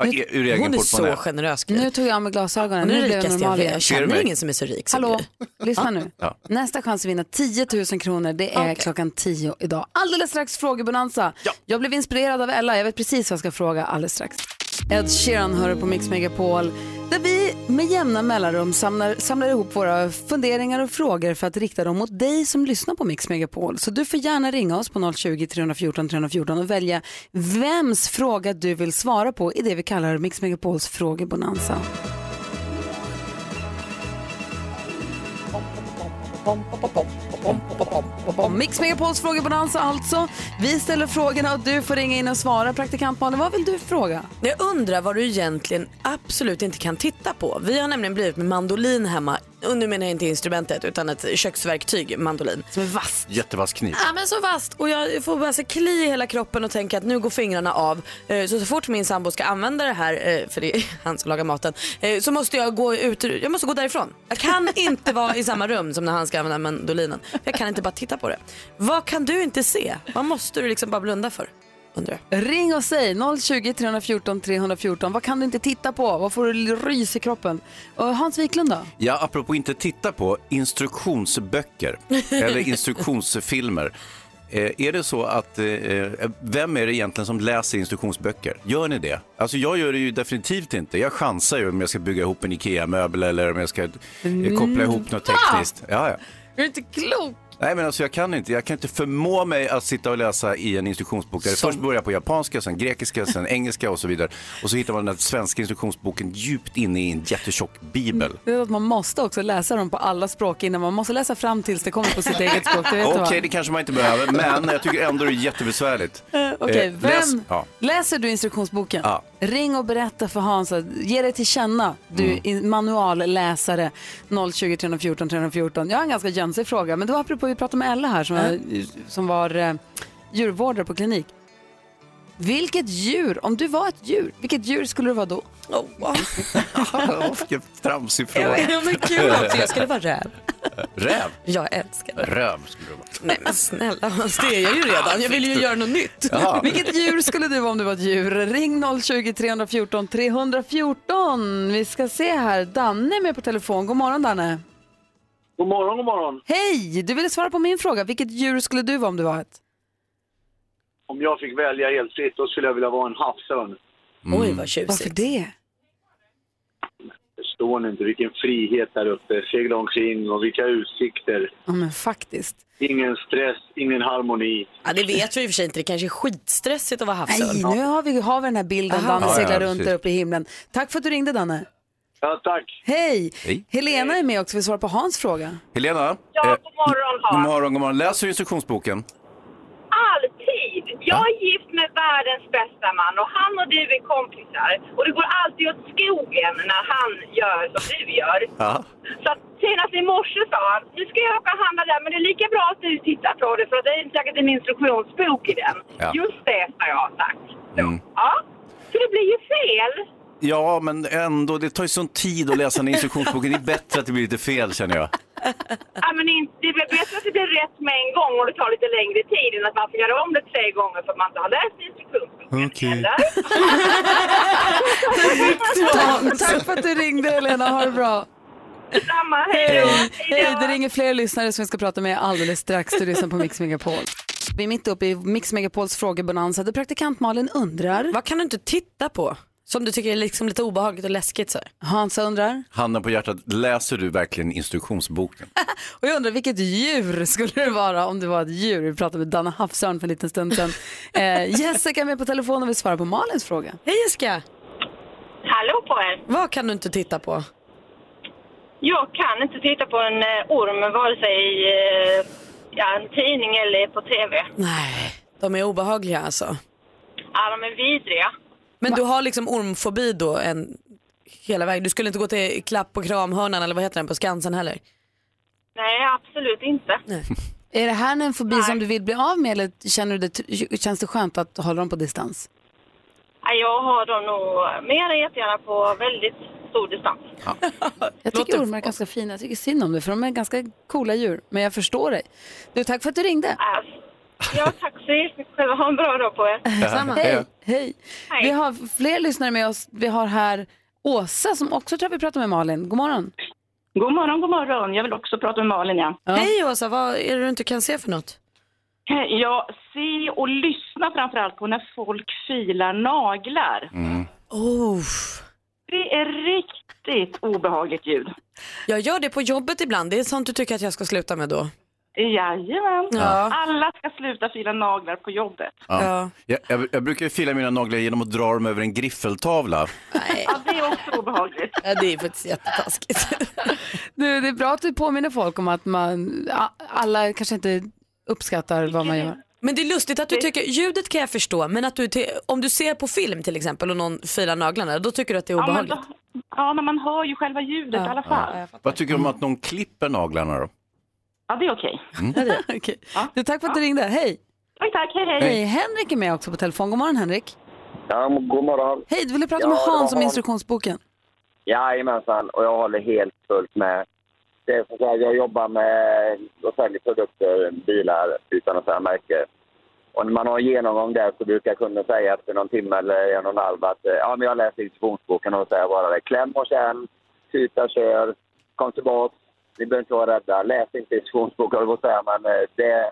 Ja, e- Ur egen
Hon är så
portmonnä.
generös. Gry.
Nu tog jag av mig glasögonen,
Hon är
nu
den
blev jag
rikaste jag
normal
vet.
igen.
Jag känner
mig?
ingen som är så rik som
Hallå,
Gry.
lyssna nu.
Ja.
Nästa chans att vinna 10 000 kronor, det är
Okej.
klockan 10 idag. Alldeles strax frågebonanza. Jag blev inspirerad av Ella, jag vet precis vad jag ska fråga alldeles strax. Ed Sheeran hör på Mix Megapol där vi med jämna mellanrum samlar, samlar ihop våra funderingar och frågor för att rikta dem mot dig som lyssnar på Mix Megapol. Så du får gärna ringa oss på 020-314 314 och välja vems fråga du vill svara på i det vi kallar Mix Megapols frågebonanza. Mix Megapols frågebonanza alltså. Vi ställer frågorna och du får ringa in och svara. Praktikant Malin, vad vill du fråga?
Jag undrar vad du egentligen absolut inte kan titta på. Vi har nämligen blivit med mandolin hemma. Och nu menar jag inte instrumentet utan ett köksverktyg, mandolin.
Som är vass.
Jättevass kniv.
Ja men så vasst och jag får bara så kli i hela kroppen och tänka att nu går fingrarna av. Eh, Så, så fort min sambo ska använda det här, eh, för det är han som lagar maten, eh, så måste jag gå ut, jag måste gå därifrån. Jag kan inte vara i samma rum som när han ska använda mandolinen. Jag kan inte bara titta på det. Vad kan du inte se? Vad måste du liksom bara blunda för? Undrar
Ring och säg 020 314 314. Vad kan du inte titta på? Vad får du rys i kroppen? Och Hans Wiklund då?
Ja, apropå inte titta på instruktionsböcker eller instruktionsfilmer. Eh, är det så att, eh, eh, vem är det egentligen som läser instruktionsböcker? Gör ni det? Alltså jag gör det ju definitivt inte. Jag chansar ju om jag ska bygga ihop en IKEA-möbel eller om jag ska eh, koppla ihop något tekniskt. Ja, ja.
Du är inte klok!
Nej men alltså jag kan inte, jag kan inte förmå mig att sitta och läsa i en instruktionsbok. Där det Först börjar på japanska, sen grekiska, sen engelska och så vidare. Och så hittar man den här svenska instruktionsboken djupt inne i en jättetjock bibel.
Det är att man måste också läsa dem på alla språk innan man måste läsa fram tills det kommer på sitt eget språk. Du vet
Okej,
vad?
det kanske man inte behöver, men jag tycker ändå det är jättebesvärligt.
Eh, Okej,
Eh,
vem?
läs- ja. Ah.
Läser du instruktionsboken?
Ja.
Ring och berätta för Hans. att- Ge dig till känna, du
Mm.
in- manualläsare. 020 314 314. Jag har en ganska jönsig fråga, men det var apropå vi pratade med Ella här som, var, som var eh, djurvårdare på klinik. Vilket djur, om du var ett djur, vilket djur skulle du vara då?
Åh, Vilken tramsig fråga.
Ja, men kul också, jag skulle vara räv.
Räv?
Jag älskar det.
Röv skulle det vara.
Nej men snälla Hans, det är jag ju
Ah,
redan. Jag vill ju göra något nytt.
Jaha.
Vilket djur skulle du vara om du var ett djur? Ring 020 314 314. Vi ska se här, Danne är med på telefon. God morgon Danne.
God morgon, god morgon.
Hej! Du ville svara på min fråga. Vilket djur skulle du vara om du var ett?
Om jag fick välja helt fritt då skulle jag vilja vara en havsörn.
Oj vad
Varför
tjusigt.
det?
Förstår ni inte vilken frihet där uppe? Segla omkring och vilka utsikter.
Ja, men faktiskt.
Ingen stress, ingen harmoni.
Ja, det vet vi i och för sig inte, det kanske är skitstressigt att vara havsörn.
Nej, nu har vi, har vi den här bilden.
Aha.
Danne
Ja, ja,
seglar runt
precis.
där uppe i himlen. Tack för att du ringde, Danne.
Ja, tack.
Hej!
Hej.
Helena är med också. Vi svarar på Hans fråga.
Helena?
Ja,
eh,
god morgon, Hans.
God morgon, god morgon. Läser du instruktionsboken?
Alltid! Jag är gift med världens bästa man och han och du är kompisar. Och det går alltid åt skogen när han gör som du gör.
Ja.
Så att senast i morse sa han, nu ska jag åka och handla där men det är lika bra att du tittar på det för att det är säkert en instruktionsbok i den.
Ja.
Just det, sa jag, tack.
Mm.
Ja, så det blir ju fel.
Ja, men ändå, det tar ju sån tid att läsa en instruktionsbok. Det är bättre att det blir lite fel känner jag.
ja, men inte- det blir bättre att det blir rätt med en gång och det tar lite längre tid än att man får göra om det tre gånger för att man inte har läst instruktionen.
Okej.
Tack, tack för att du ringde Helena, ha det bra.
Samma,
hej Hej, det ringer fler lyssnare som vi ska prata med alldeles strax. Du lyssnar på Mix Megapol. Vi är mitt uppe i Mix Megapols frågebonanza där praktikant Malin undrar.
Vad kan du inte titta på? Som du tycker är liksom lite obehagligt och läskigt så här.
Hansa undrar.
Handen på hjärtat, läser du verkligen instruktionsboken?
Och jag undrar vilket djur skulle det vara om det var ett djur? Vi pratade med Danne Hafsörn för en liten stund sedan. Eh, Jessica är med på telefon och vill svara på Malins fråga.
Hej Jessica!
Hallå på er!
Vad kan du inte titta på?
Jag kan inte titta på en eh, orm vare sig i eh, ja, en tidning eller på tv.
Nej, de är obehagliga alltså.
Ja, de är vidriga.
Men du har liksom ormfobi då en, hela vägen? Du skulle inte gå till klapp och kramhörnan eller vad heter den på Skansen heller?
Nej, absolut inte.
Är det här en fobi som du vill bli av med eller känner du det, känns det skönt att hålla dem på distans?
Ja, Jag har dem nog eh, mer än jättegärna på väldigt stor distans.
Jag tycker ormar är ganska fina. Jag tycker synd om det för de är ganska coola djur. Men jag förstår dig. Du, tack för att du ringde.
Äh, Ja, tack så jättemycket själva. Ha en bra dag på er.
Detsamma. Hej, hej. Vi har fler lyssnare med oss. Vi har här Åsa som också tror jag vi pratar med Malin. God morgon.
God morgon, god morgon. Jag vill också prata med Malin. Ja.
Hej Åsa, vad är det du inte kan se för något?
Ja, se och lyssna framförallt på när folk filar naglar.
Mm.
Oh.
Det är riktigt obehagligt ljud.
Jag gör det på jobbet ibland, det är sånt du tycker att jag ska sluta med då?
Jajamän.
Ja.
Alla ska sluta fila naglar på jobbet.
Ja. Jag, jag, jag brukar ju fila mina naglar genom att dra dem över en griffeltavla.
Ja, det är också obehagligt.
Ja, det är faktiskt jättetaskigt.
Du, det är bra att du påminner folk om att man, a- alla kanske inte uppskattar vad man gör.
Men det är lustigt att du tycker, ljudet kan jag förstå, men att du te- om du ser på film till exempel och någon filar naglarna, då tycker du att det är
Ja, men,
obehagligt?
då, ja, men man hör ju själva ljudet i alla fall. Ja,
Vad tycker du om att någon klipper naglarna då? Mm.
det är okej.
Okej. Du, tack för att du ringde. Hej.
Oj, tack. Hej, hej.
Hej, Henrik är med också på telefon. God morgon Henrik.
Ja, men god morgon.
Hej, du ville prata
Ja,
med
det var
Hans om
Hans.
instruktionsboken.
Jajamensan, och jag håller helt fullt med. Det är så här, jag jobbar med och säljer produkter, bilar, utan att säga märke. Och när man har en genomgång där så brukar kunden säga efter någon timme eller en och en halv att eh, ja, men jag läser instruktionsboken och säger bara det. Kläm och känn, tuta, kör, kom tillbaks. Ni behöver inte vara rädda. Läs inte instruktionsboken, höll jag på att säga, men eh, det,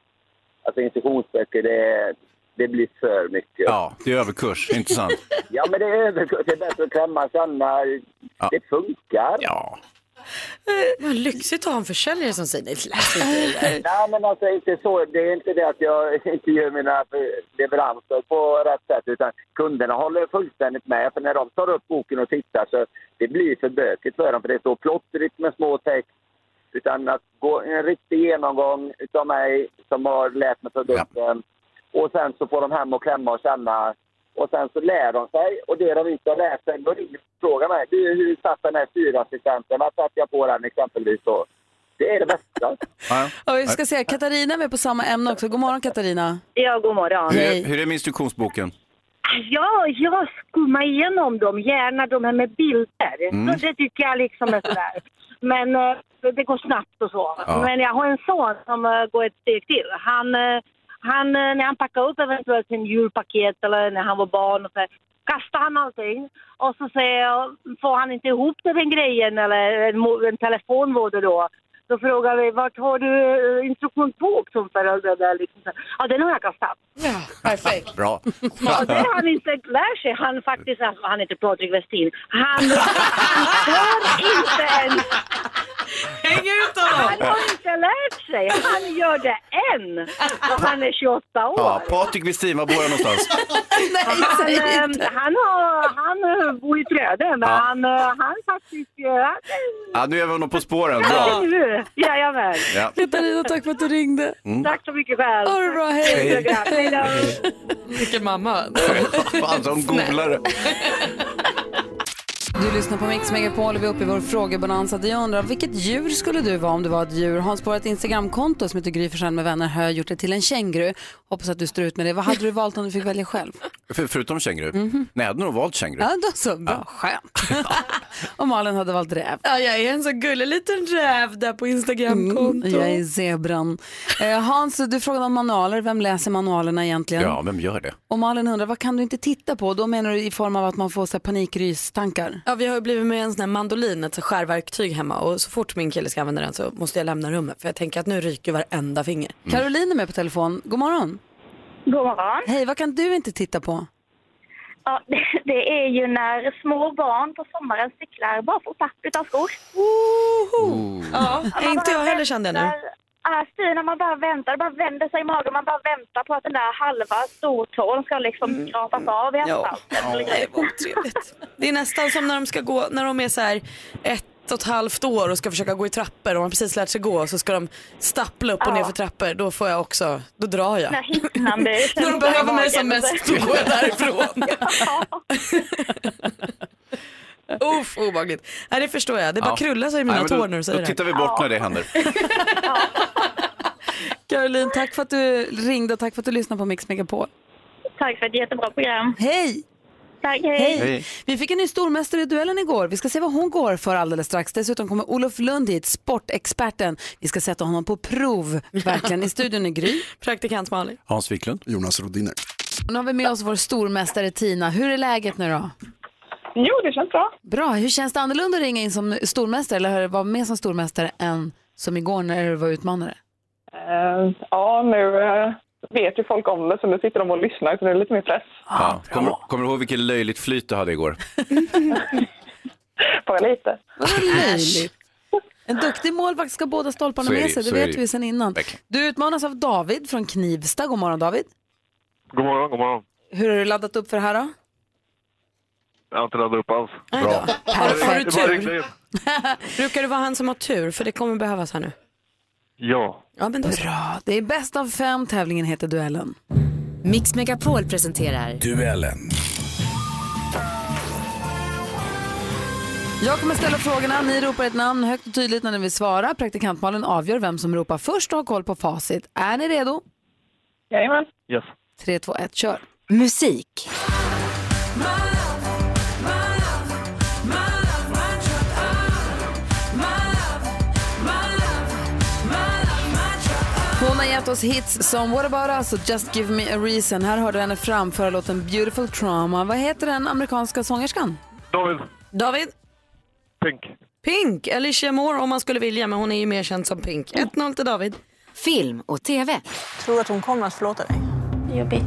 alltså instruktionsböcker, det, det blir för mycket.
Ja, det är överkurs, inte sant?
Ja, men det är överkurs. Det är bättre att klämma, känna. Det funkar.
Ja.
Vad lyxigt att ha en försäljare som säger nej, läs inte det där."
Nej, men alltså inte så. Det är inte det att jag inte gör mina leveranser på rätt sätt, utan kunderna håller fullständigt med. För när de tar upp boken och tittar så det blir för bökigt för dem, för det står plottrigt med små text. Utan att gå en riktig genomgång utav mig som har lärt mig produkten. Och sen så får de hem och klämma och känna. Och sen så lär de sig. Och det de inte har lärt sig, då ringer de och frågar mig. Du, hur satt den här styrassistenten? Vad satt jag på den exempelvis då? Det är det bästa.
Och vi ska se, Katarina är med på samma ämne också. God morgon Katarina.
Ja, god morgon.
Hur är, hur är med instruktionsboken?
Ja, jag skummar igenom dem, gärna de här med bilder.
Mm.
Så det tycker jag liksom är sådär. Men eh, för det går snabbt och så.
Ja.
Men jag har en son som eh, går ett steg till. Han, eh, han, eh, när han packar upp eventuellt sin julpaket eller när han var barn och så här, kastar han allting. Och så säger jag, får han inte ihop den grejen eller en, mo- en telefon var det då. Då frågar vi, vart har du eh, instruktionsbok som förälder? Där, liksom. så här, Ja, den har jag kastat.
Perfekt.
Bra.
Och det han inte lär sig, han faktiskt, alltså, han heter Patrik Westin, han, han hör inte ens.
Häng ut
Han har inte lärt sig, han gör det än. Och han är 28 år.
Ja, Patrik Westin, var bor han någonstans?
han, eh, han, har, han eh, bor i Tröde, men
Ja.
han, eh, han faktiskt, eh, han
Ja, nu är vi nog på spåren.
är
Bra.
nu. Jajamän.
Ja.
Katarina, tack för att du ringde.
Mm.
Tack så mycket själv.
Ha det bra, hej.
Hej då.
Vilken mamma.
Fan, som golare.
Du lyssnar på Mix Megapol och vi är uppe i vår frågebonanza där jag undrar vilket djur skulle du vara om du var ett djur? Hans på ett Instagramkonto som heter Gry Forssell med vänner har jag gjort det till en känguru. Hoppas att du står ut med det. Vad hade du valt om du fick välja själv?
För, förutom känguru?
Mhm.
Nej, jag hade nog valt känguru.
Ja, då så. Bra, skönt. och Malin hade valt räv.
Ja, jag är en så gullig liten räv där på Instagramkonto.
Mm, Jag är zebran. Eh, Hans, du frågade om manualer. Vem läser manualerna egentligen?
Ja, vem gör det?
Och Malin undrar, vad kan du inte titta på? Då menar du i form av att man får så här panikrys-tankar?
Ja, vi har ju blivit med en sån här mandolin, ett så här skärverktyg hemma och så fort min kille ska använda den så måste jag lämna rummet för jag tänker att nu ryker varenda finger.
Caroline är med på telefon. God morgon.
God morgon.
Hej, vad kan du inte titta på?
Ja, det- det är ju när små barn på sommaren cyklar barfota utan skor.
Ja, inte jag heller kände ännu.
Ja, Stina, man bara väntar, bara vänder sig i magen, man bara väntar på att den där halva stortån ska liksom
Mm.
skrapas av i alla fall.
Nej, vad otrevligt. Det är nästan som när de ska gå, när de är så här ett och ett halvt år och ska försöka gå i trappor och man precis lärt sig gå och så ska de stappla upp och
Ja.
ner för trappor. Då får jag också, då drar jag.
Den här hissnande
När de
känslan i
behöver mig
magen.
som mest, då går jag därifrån. Uff, obehagligt. Nej, det förstår jag. Det bara
Ja.
krullar sig i mina
Nej, men
tår
då,
när du säger
Då
det.
tittar vi bort när det händer.
Caroline, tack för att du ringde och tack för att du lyssnade på Mix Megapol.
Tack för ett jättebra program.
Hej!
Tack, hej.
Hej. Vi fick en ny stormästare i duellen igår. Vi ska se vad hon går för alldeles strax. Dessutom kommer Olof Lund hit, sportexperten. Vi ska sätta honom på prov, verkligen. I studion är Gry.
Praktikant Malin.
Hans Wiklund.
Jonas Rodiner.
Nu har vi med oss vår stormästare Tina. Hur är läget nu då?
Jo, det känns bra.
Bra. Hur känns det annorlunda att ringa in som stormästare eller vara med som stormästare än som igår när du var utmanare?
Eh, ja, nu eh, vet ju folk om det, så nu sitter de och lyssnar, så nu är det lite mer press.
Ja. Kommer, kommer du ihåg vilket löjligt flyt du hade igår?
Får jag lite?
Vad löjligt. En duktig målvakt ska båda stolparna
Så är
med
det,
sig, det
så är
vet
det.
vi sedan innan. Du utmanas av David från Knivsta. God morgon David.
God morgon, god morgon.
Hur har du laddat upp för det här då?
Jag har inte laddat upp alls.
Bra. Har du
Det bara
tur?
ringde in.
Brukar det vara han som har tur? För det kommer behövas här nu.
Ja.
Ja, men då så.
Bra. Det är bäst av fem. Tävlingen heter Duellen.
Mix Megapol presenterar
Duellen.
Jag kommer ställa frågorna. Ni ropar ett namn högt och tydligt när ni vill svara. Praktikantmalen avgör vem som ropar först och har koll på facit. Är ni redo?
Jajamän.
Yes.
3, 2, 1, kör.
musik.
Hon har gett oss hits som What about us och Just give me a reason. Här hörde du henne framföra låten Beautiful trauma. Vad heter den amerikanska sångerskan?
David.
David?
Pink.
Pink. Alicia Moore om man skulle vilja, men hon är ju mer känd som Pink. 1-0 till David.
Film och TV.
Tror att hon kommer att förlåta dig? Jobbigt.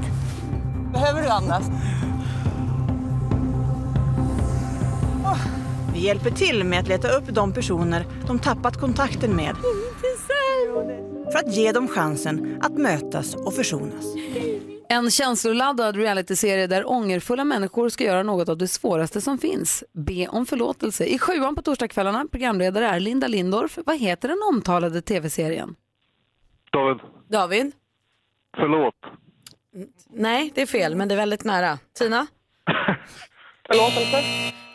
Behöver du andas? Åh, Vi hjälper till med att leta upp de personer de tappat kontakten med för att ge dem chansen att mötas och försonas.
En känsloladdad realityserie där ångerfulla människor ska göra något av det svåraste som finns. Be om förlåtelse. I sjuan på torsdagskvällarna, programledare är Linda Lindorff. Vad heter den omtalade tv-serien?
David.
David?
Förlåt.
Nej, det är fel, men det är väldigt nära. Tina?
Förlåtelse?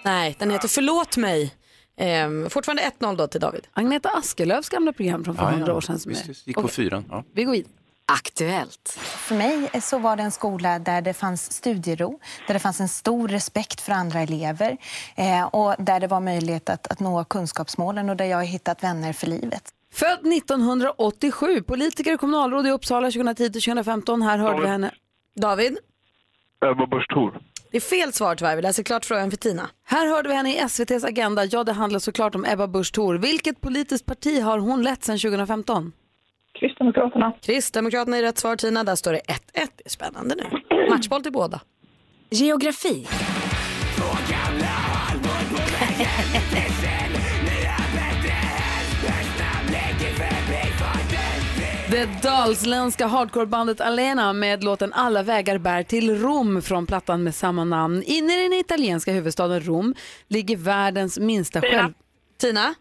Nej, den heter Förlåt mig. Ehm, fortfarande 1-0 då till David.
Agneta Askelövs gamla program från för
Ja, ja.
hundra år sedan. Som är.
Visst, visst. Gick på fyran. Ja.
Vi går vidare.
Aktuellt. För mig så var det en skola där det fanns studiero, där det fanns en stor respekt för andra elever eh, och där det var möjlighet att, att nå kunskapsmålen och där jag har hittat vänner för livet.
Född 1987, politiker och kommunalråd i Uppsala 2010-2015. Här hörde vi henne.
David?
Ebba Busch Thor.
Det är fel svar tyvärr, vi läser klart frågan för Tina.
Här hörde vi henne i SVTs Agenda. Ja, det handlar såklart om Ebba Busch Thor. Vilket politiskt parti har hon lett sedan 2015?
Kristdemokraterna.
Kristdemokraterna är rätt svar Tina, där står det 1-1. Det är spännande nu. Matchboll till båda.
Geografi.
Det dalsländska hardcorebandet Alena med låten Alla vägar bär till Rom från plattan med samma namn. Inne i den italienska huvudstaden Rom ligger världens minsta
Tina.
själv...
Tina?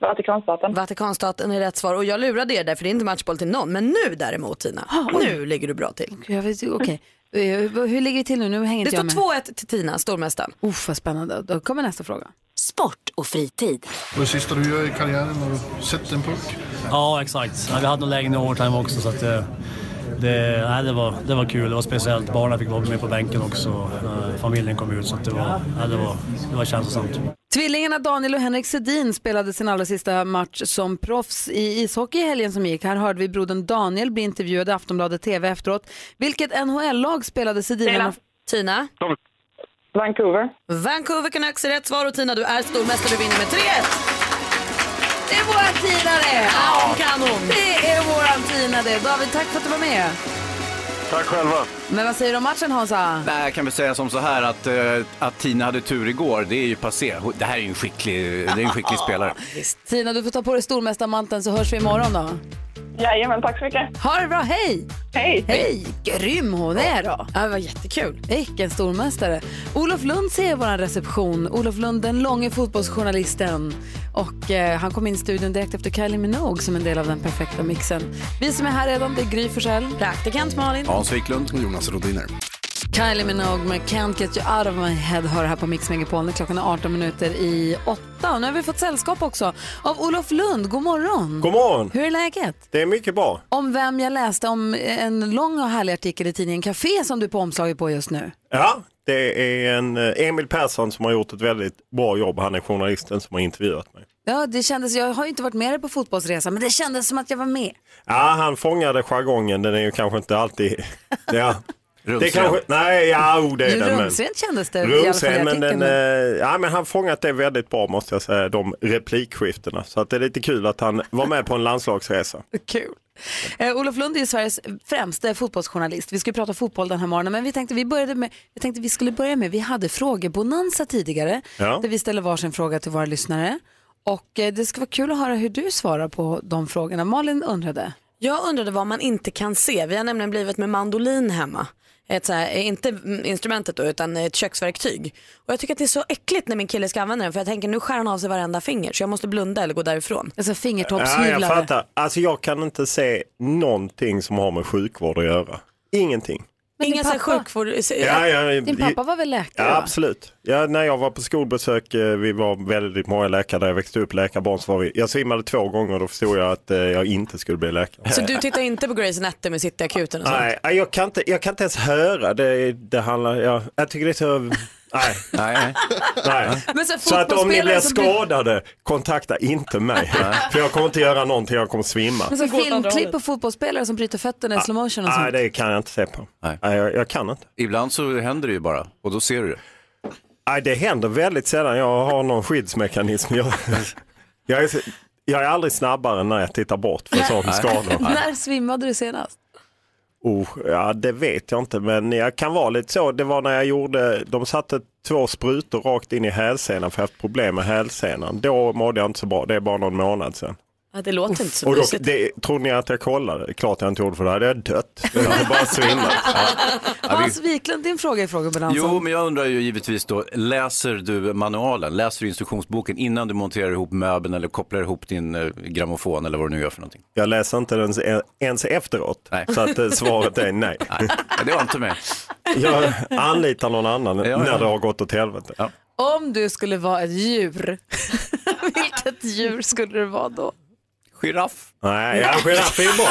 Vatikanstaten.
Vatikanstaten är rätt svar och
Ah,
jag lurade er där för det är inte matchboll till någon. Men nu däremot Tina, nu ligger du bra till.
Jag vet, ju- okej. Eh, Hur ligger vi till nu? Nu hänger
Det
inte jag med.
står 2-1 till Tina, stormästaren.
Uff, vad spännande. Då kommer nästa fråga.
Sport och fritid.
Vad är det sista du gör i karriären? Har du sett en puck?
Ja, exakt. Ja, vi hade nog lägen i overtime också så att eh, det, nej, det, var, det var kul. Det var speciellt. Barnen fick vara med på bänken också. Eh, Familjen kom ut så att det, var, ja, det, var, det var känslosamt.
Tvillingarna Daniel och Henrik Sedin spelade sin allra sista match som proffs i ishockey i helgen som gick. Här hörde vi brodern Daniel bli intervjuad i Aftonbladet TV efteråt. Vilket NHL-lag spelade Sedinarna?
Tina?
Vancouver.
Vancouver Canucks är rätt svar och Tina du är stormästare, du vinner med 3-1. Det är våran Tina det! Ja, hon kan hon.
Det är våran Tina det. David, tack för att du var med.
Tack själva.
Men vad säger du om matchen Hansa?
Nej, jag kan väl säga som så här att, eh, att Tina hade tur igår, det är ju passé. Det här är ju en skicklig, det är en skicklig spelare.
Tina, du får ta på dig stormästarmanteln så hörs vi imorgon då.
Jajamän, tack så mycket.
Ha det bra, hej!
Hej!
Hej! Grym hon är då!
Ja, det var jättekul.
Vilken stormästare. Olof Lund ser vår reception. Olof Lund, den långe fotbollsjournalisten. Och eh, han kom in i studion direkt efter Kylie Minogue som en del av den perfekta mixen. Vi som är här redan, det är Gry Forssell. Praktikant Malin.
Hans Wiklund.
Och Jonas Rodiner.
Kylie Minogue med Can't Get You Out of My Head hör här på Mix Megapol när klockan är 18 minuter i 8. Och nu har vi fått sällskap också av Olof Lund. God morgon!
God morgon!
Hur är läget?
Det är mycket bra.
Om vem jag läste om en lång och härlig artikel i tidningen Café som du är på omslaget på just nu.
Ja, det är en eh, Emil Persson som har gjort ett väldigt bra jobb. Han är journalisten som har intervjuat mig.
Ja, det kändes, jag har ju inte varit med dig på fotbollsresa, men det kändes som att jag var med.
Ja, han fångade jargongen. Den är ju kanske inte alltid... Ja. Det är
Rumsren.
kanske, nej, ja, oh, det är den. men-
Rumsrent kändes det i alla fall i
Rumsren, men,
artikeln.
den, eh,
men-
ja, men han fångat det väldigt bra måste jag säga, de replikskiftena. Så att det är lite kul att han var med på en landslagsresa.
Kul. Eh, Olof Lund är ju Sveriges främste fotbollsjournalist. Vi skulle prata fotboll den här morgonen, men vi tänkte vi, började med, jag tänkte vi skulle börja med, vi hade frågebonanza tidigare,
Ja.
där vi ställer varsin fråga till våra lyssnare. Och eh, det ska vara kul att höra hur du svarar på de frågorna. Malin undrade.
Jag undrade vad man inte kan se. Vi har nämligen blivit med mandolin hemma. Ett så här, inte mm, instrumentet då, utan ett köksverktyg. Och jag tycker att det är så äckligt när min kille ska använda den för jag tänker nu skär han av sig varenda finger så jag måste blunda eller gå därifrån.
Alltså
Ja, jag
fingertoppshyvlare.
fattar. Alltså jag kan inte se någonting som har med sjukvård att göra. Ingenting.
Inga så här sjukvård...
Ja, ja,
Din pappa var väl läkare?
Ja,
va?
absolut. Ja, när jag var på skolbesök, eh, vi var väldigt många läkare där jag växte upp, läkarbarn, så var vi, jag svimmade två gånger och då förstod jag att eh, jag inte skulle bli läkare.
Så du tittar inte på Grey's Anatomy och sitter i akuten och sånt?
Nej, nej, jag kan inte, jag kan inte ens höra. Det, det handlar, jag, jag tycker det är så... Nej.
nej.
Men så
så att om ni
fotbollsspelare
blir
som blir-
skadade, kontakta inte mig. För jag kommer inte göra någonting, jag kommer svimma.
Men så filmklipp på fotbollsspelare som bryter fötterna i slow motion och
Nej,
sånt.
det kan jag inte se på. Nej. jag, jag kan inte.
Ibland så händer det ju bara och då ser du det.
Nej, det händer väldigt sällan. Jag har någon skyddsmekanism. Jag, jag, är, så- jag är aldrig snabbare när jag tittar bort för sådana skador.
När svimmade du senast?
Oh, ja, det vet jag inte, men jag kan vara lite så. Det var när jag gjorde, de satte två sprutor rakt in i hälsenan för jag har haft problem med hälsenan. Då mådde jag inte så bra. Det är bara någon månad sedan.
Ja, det låter inte så
Och då,
mysigt.
det, trodde ni att jag kollade? Klart jag inte gjorde för det hade jag dött. Jag hade bara svimmat.
Hans Wiklund, din fråga i frågebalansen.
Jo, men jag undrar ju givetvis då, läser du manualen, läser du instruktionsboken innan du monterar ihop möbeln eller kopplar ihop din eh, grammofon eller vad du nu gör för någonting?
Jag läser inte den ens- ens efteråt. Så att eh, svaret är nej.
Det var inte med.
Jag anlitar någon annan
ja.
när det har gått åt helvete.
Om du skulle vara ett djur, vilket djur skulle du vara då?
Giraff.
Nej, ja, giraff är ju bra.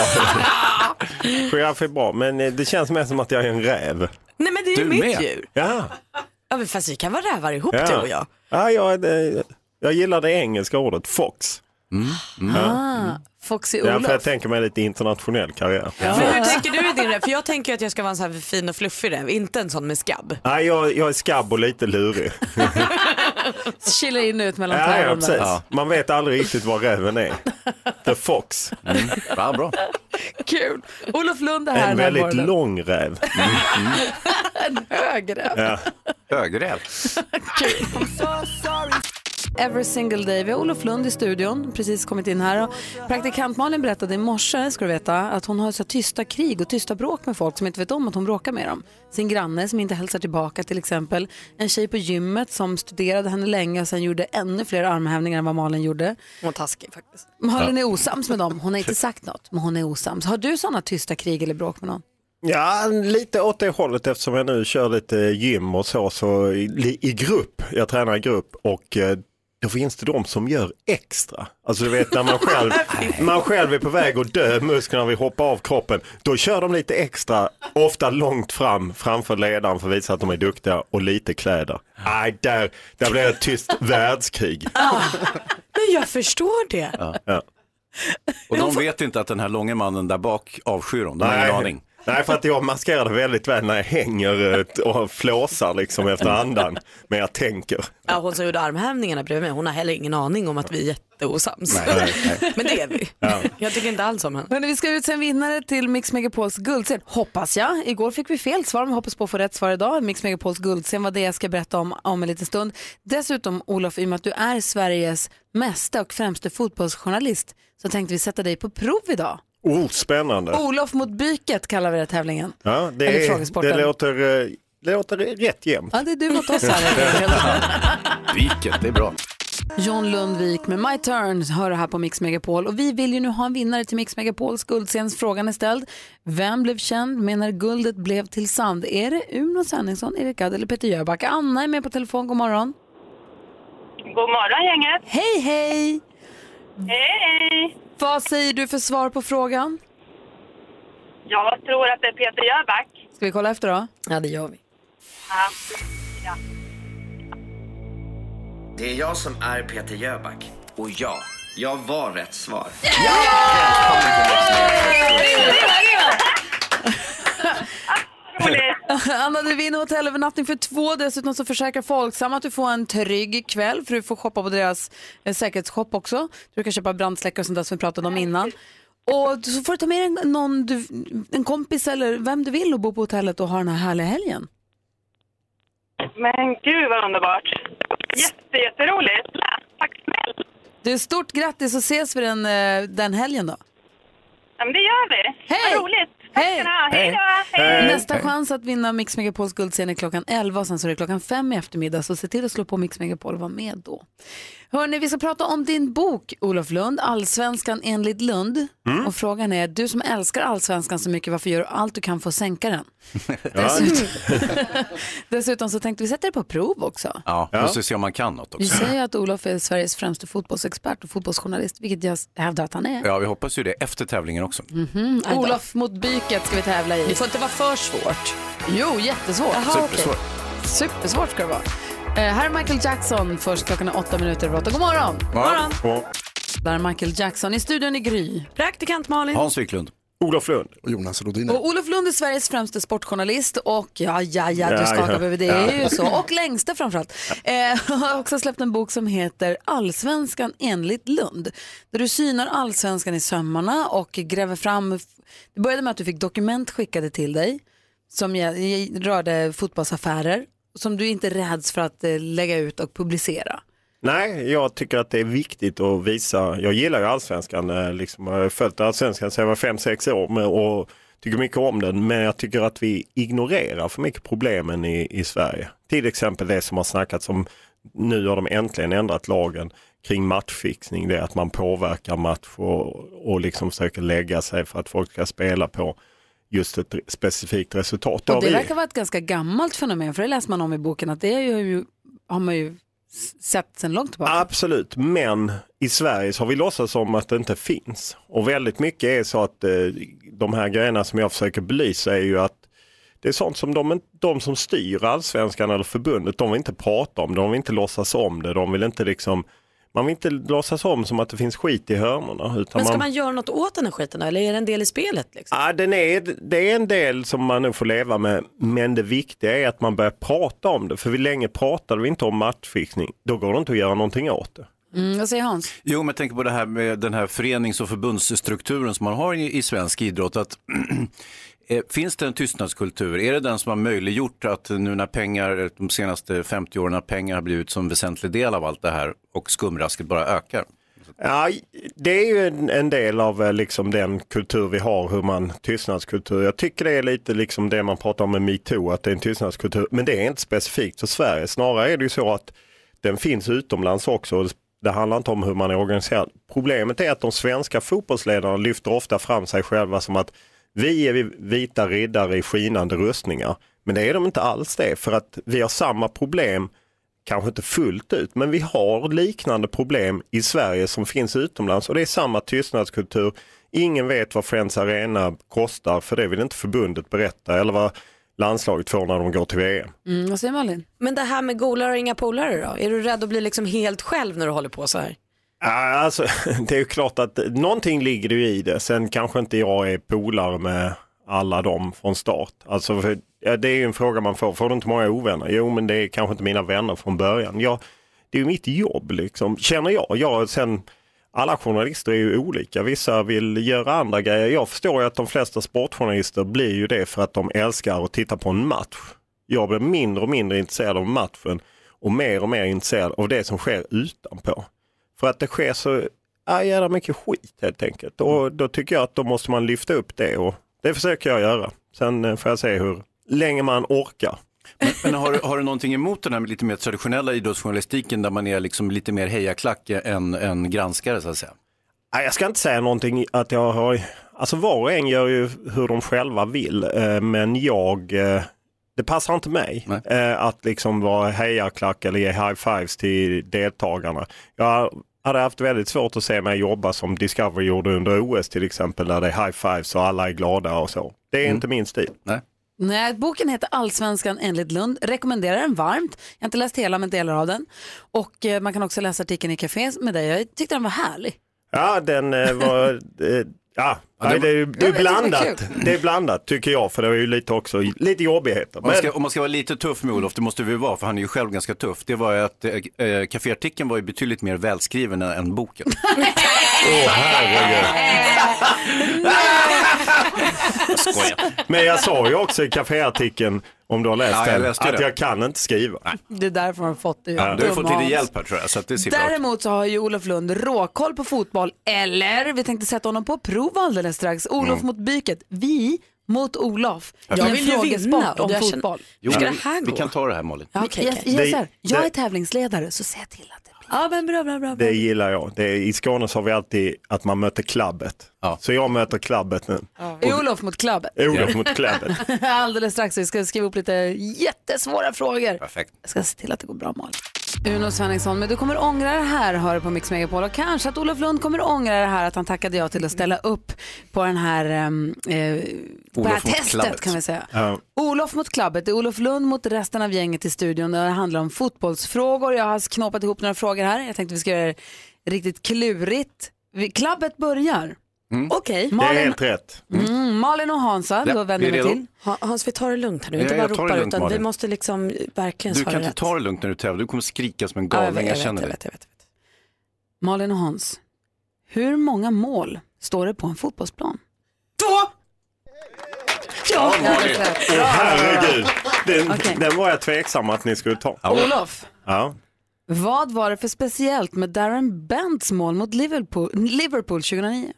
giraff är bra, men eh, det känns mer som att jag är en räv.
Nej men det är ju mitt djur.
Ja.
Ja, men fast vi kan vara rävar ihop
ja.
du och jag.
Ja, jag, eh, jag gillar det engelska ordet fox.
Mm.
Ah, Foxy
Mm. Ja, för jag
Olof.
tänker mig lite internationell karriär.
Men hur tänker du i din räv? För jag tänker ju att jag ska vara en så här fin och fluffig räv, inte en sån med skabb.
Nej, jag, jag är skabb och lite lurig.
Chillar in och ut mellan
Ja, ja,
päronen.
precis. Man vet aldrig riktigt vad räven är. The fox.
Mm. Ja, bra.
Kul. Olof Lund är här
En
den här
väldigt
morgonen.
lång räv.
en högre.
Ja.
Högräv.
Every single day. Vi har Olof Lund i studion, precis kommit in här. Och praktikant Malin berättade i morse, ska du veta, att hon har så här tysta krig och tysta bråk med folk som inte vet om att hon bråkar med dem. Sin granne som inte hälsar tillbaka till exempel. En tjej på gymmet som studerade henne länge och sen gjorde ännu fler armhävningar än vad Malin gjorde.
Hon var taskig faktiskt.
Malin är osams med dem. Hon har inte sagt något, men hon är osams. Har du sådana tysta krig eller bråk med någon?
Ja, lite åt det hållet eftersom jag nu kör lite gym och så, så i, i grupp. Jag tränar i grupp och eh, då finns det de som gör extra. Alltså du vet när man själv, man själv är på väg att dö, musklerna vill hoppa av kroppen. Då kör de lite extra, ofta långt fram, framför ledaren för att visa att de är duktiga och lite kläder. Nej, där, där blir det ett tyst världskrig.
Ah, Men jag förstår det.
Ja.
Och de vet inte att den här långa mannen där bak avskyr dem. De har
Nej.
ingen aning.
Nej, för att jag maskerar det väldigt väl när jag hänger eh, och flåsar liksom efter
Mm.
andan. Men jag tänker.
Ja, hon som gjorde armhävningarna bredvid mig, hon har heller ingen aning om att vi är jätteosams.
Nej, nej.
Men det är vi.
Ja.
Jag tycker inte alls om henne.
Men vi ska utse en vinnare till Mix Megapols guldscen, hoppas jag. Igår fick vi fel svar, men hoppas på att få rätt svar idag. Mix Megapols guldscen var det jag ska berätta om om en liten stund. Dessutom, Olof, i och med att du är Sveriges mesta och främste fotbollsjournalist så tänkte vi sätta dig på prov idag.
Oh, spännande.
Olof mot byket kallar vi den här tävlingen.
Ja,
Eller
det, är,
frågesporten.
det låter, eh, låter rätt jämnt.
Ja, det är du mot oss här.
Viket, det är bra.
John Lundvik med My Turn hör du här på Mix Megapol. Och vi vill ju nu ha en vinnare till Mix Megapols guldscens. Frågan är ställd. Vem blev känd med när guldet blev till sand? Är det Uno Svenningsson, Erik Gadd eller Peter Jöback? Anna är med på telefon. God morgon.
God morgon gänget!
Hej, hej!
Hej!
Vad säger du för svar på frågan?
Jag tror att det är Peter Jöback.
Ska vi kolla efter då?
Ja, det gör vi.
Ja. Ja.
Det är jag som är Peter Jöback. Och ja, jag var rätt svar.
Anna, du vinner hotellövernattning för två. Dessutom så försäkrar Folksam att du får en trygg kväll för du får shoppa på deras eh, säkerhetsshop också. Du kan köpa brandsläckare och sånt där som vi pratade om innan. Och så får du ta med dig någon, du, en kompis eller vem du vill och bo på hotellet och ha den här härliga helgen.
Men gud vad underbart! Jätte, jätteroligt!
Du, stort grattis och ses vi den, eh, den helgen då.
Ja, men det gör vi!
Hej!
Vad roligt! Tack ska ni ha! Hej då! Hej!
Nästa chans att vinna Mix Megapols guldscen är klockan 11 och sen så är det klockan 5 i eftermiddag. Så se till att slå på Mix Megapol och var med då. Hörni, vi ska prata om din bok Olof Lund, Allsvenskan enligt Lund.
Mm.
Och frågan är, du som älskar Allsvenskan så mycket, varför gör du allt du kan för att sänka den?
Ja,
Dessutom så tänkte vi sätta det på prov också.
ja. måste se om man kan något
Du
också.
säger att Olof är Sveriges främsta fotbollsexpert och fotbollsjournalist, vilket jag hävdar att han är.
Ja, vi hoppas ju det efter tävlingen också.
Mhm. Olof mot byket ska vi tävla i. Det får inte vara för svårt. Jo, jättesvårt.
Supersvårt.
okej. Supersvårt ska det vara. Eh, här är Michael Jackson först klockan är åtta minuter över åtta. God morgon! Där är Michael Jackson i studion i Gry.
Praktikant Malin.
Wiklund.
Olof Lund.
Och Jonas Rodiner.
Och Olof Lund är Sveriges främste sportjournalist och ja, ja, ja, du
Ja,
skakar
ja.
på huvudet, det
Ja.
är ju så. Och längsta framförallt. Eh, har också släppt en bok som heter Allsvenskan enligt Lund. Där du synar allsvenskan i sömmarna och gräver fram, det började med att du fick dokument skickade till dig som jag- rörde fotbollsaffärer som du inte räds för att eh, lägga ut och publicera.
Nej, jag tycker att det är viktigt att visa. Jag gillar ju allsvenskan. eh, Liksom, jag har följt allsvenskan sedan jag var fem sex år men- och tycker mycket om den. Men jag tycker att vi ignorerar för mycket problemen i, i Sverige. Till exempel det som har snackats om. Nu har de äntligen ändrat lagen kring matchfixning. Det är att man påverkar match och, och liksom försöker lägga sig för att folk ska spela på just ett specifikt resultat.
Och
har
det
vi-
verkar vara ett ganska gammalt fenomen för det läser man om i boken att det är ju, har man ju s- sett sedan långt tillbaka.
Absolut, men i Sverige så har vi låtsats som att det inte finns. Och väldigt mycket är så att eh, de här grejerna som jag försöker belysa är ju att det är sånt som de, inte- de som styr allsvenskan eller förbundet, de vill inte prata om det, de vill inte låtsas om det, de vill inte liksom, man vill inte låtsas om som att det finns skit i hörnorna. Utan
Men ska man göra något åt den här skiten då? eller är det en del i spelet? Liksom?
Ja, den är, det är en del som man nog får leva med, men det viktiga är att man börjar prata om det. För vi länge pratade vi inte om matchfixning, då går det inte att göra någonting åt det.
Mm, vad säger Hans?
Jo, men jag tänker på det här med den här förenings och förbundsstrukturen som man har i, i svensk idrott. Att, eh, finns det en tystnadskultur? Är det den som har möjliggjort att nu när pengar, de senaste 50 åren, har pengar har blivit som en väsentlig del av allt det här och skumrasket bara ökar?
Ja, det är ju en, en del av eh, liksom, den kultur vi har, hur man tystnadskultur. Jag tycker det är lite liksom det man pratar om med metoo, att det är en tystnadskultur. Men det är inte specifikt för Sverige. Snarare är det ju så att den finns utomlands också. och Det handlar inte om hur man är organiserad. Problemet är att de svenska fotbollsledarna lyfter ofta fram sig själva som att vi är vi- vita riddare i skinande rustningar. Men det är de inte alls det, för att vi har samma problem, kanske inte fullt ut, men vi har liknande problem i Sverige som finns utomlands och det är samma tystnadskultur. Ingen vet vad Friends Arena kostar, för det vill inte förbundet berätta, eller vad landslaget får när de går till VM.
Mm, vad säger Malin?
Men det här med golare och inga polare då? Är du rädd att bli liksom helt själv när du håller på så här?
Ja, Alltså, det är ju klart att någonting ligger ju i det. Sen kanske inte jag är polare med alla dem från start. Alltså, för, ja, det är ju en fråga man får. Får du inte många ovänner? Jo, men det är kanske inte mina vänner från början. Jag, det är ju mitt jobb, liksom, känner jag. jag sen, alla journalister är ju olika. Vissa vill göra andra grejer. Jag förstår ju att de flesta sportjournalister blir ju det för att de älskar att titta på en match. Jag blir mindre och mindre intresserad av matchen och mer och mer intresserad av det som sker utanpå. För att det sker så ja, jävla mycket skit helt enkelt. Och då tycker jag att då måste man lyfta upp det och det försöker jag göra. Sen eh, får jag se hur länge man orkar.
Men har, du- har du någonting emot den här med lite mer traditionella idrottsjournalistiken där man är liksom lite mer hejaklack än, än granskare så att säga?
Nej, jag ska inte säga någonting att jag har, alltså var och en gör ju hur de själva vill, eh, men jag, eh, det passar inte mig eh, att liksom vara hejarklack eller ge high fives till deltagarna. Jag hade haft väldigt svårt att se mig jobba som Discovery gjorde under OS till exempel, där det är high fives och alla är glada och så. Det är inte min stil.
Nej, boken heter Allsvenskan enligt Lund. Rekommenderar den varmt. Jag har inte läst hela men delar av den. Och eh, man kan också läsa artikeln i Café med dig. Jag tyckte den var härlig.
Ja, den eh, var... Eh, ja, nej, det, är- det är
var
blandat.
kul.
Det är blandat tycker jag, för det var ju lite också, lite jobbigheter.
Om man, ska, om man ska vara lite tuff med Olof, det måste vi ju vara, för han är ju själv ganska tuff. Det var ju att eh, eh, kaféartikeln var ju betydligt mer välskriven än- än boken.
Åh, herregud.
Jag skojar.
Men jag sa ju också i kaféartikeln, om du har läst
Ja, jag
den,
läste
att
det.
jag kan inte skriva.
Det är därför man har fått det.
Ja, du har fått lite
Dumma
hjälp
här tror jag, så att det ser bra ut.
Däremot så har ju Olof Lund råkoll på fotboll, eller vi tänkte sätta honom på prov alldeles strax. Olof
Mm.
mot Byket, vi mot Olof.
Jag
I en
vill ju
frågesport
vinna och
om
jag känner-
fotboll.
Jo, men vi kan ta det här Malin.
Ja,
okej,
jag,
okej.
jag,
Det-
så här, jag
det-
är tävlingsledare, så säg till att det blir. Ja, men bra, bra, bra.
Det gillar jag. Det är, I Skåne sa vi alltid att man möter klabbet. Så jag möter klabbet nu.
Är Olof mot klubbet.
Olof mot klubbet.
Alldeles strax, vi ska skriva upp lite jättesvåra frågor.
Perfekt.
Jag ska se till att det går bra Malin. Uno Svensson, men du kommer ångra det här, hör du på Mix Megapol. Och kanske att Olof Lund kommer ångra det här att han tackade ja till att ställa upp på, den här, ehm, eh, på det här
Olof mot
testet
Klabbet.
kan vi säga. Olof mot klubbet, det är Olof Lund mot resten av gänget i studion. Det handlar om fotbollsfrågor. Jag har knåpat ihop några frågor här. Jag tänkte vi ska göra det riktigt klurigt. Vi- Klubbet börjar.
Mm.
Mm.
Okej.
Det är
Malin,
helt rätt.
mm, Malin och Hansa, då vänder vi till.
Ha- Hans, vi tar det lugnt här nu.
Ja,
Inte bara
jag tar det
ropar
lugnt,
utan vi
Malin.
måste liksom verkligen
Du
svara
kan inte
rätt.
ta det lugnt när du tävlar, du kommer skrika som en
Ja, jag
galning,
vet,
jag
jag
känner
vet, jag
det.
vet, jag vet.
Malin och Hans, hur många mål står det på en fotbollsplan?
Två!
Ja,
Malin.
det är rätt.
Åh, herregud. Den,
Okej.
den var jag tveksam att ni skulle ta.
Olof,
Ja.
vad var det för speciellt med Darren Bents mål mot Liverpool, Liverpool 2009?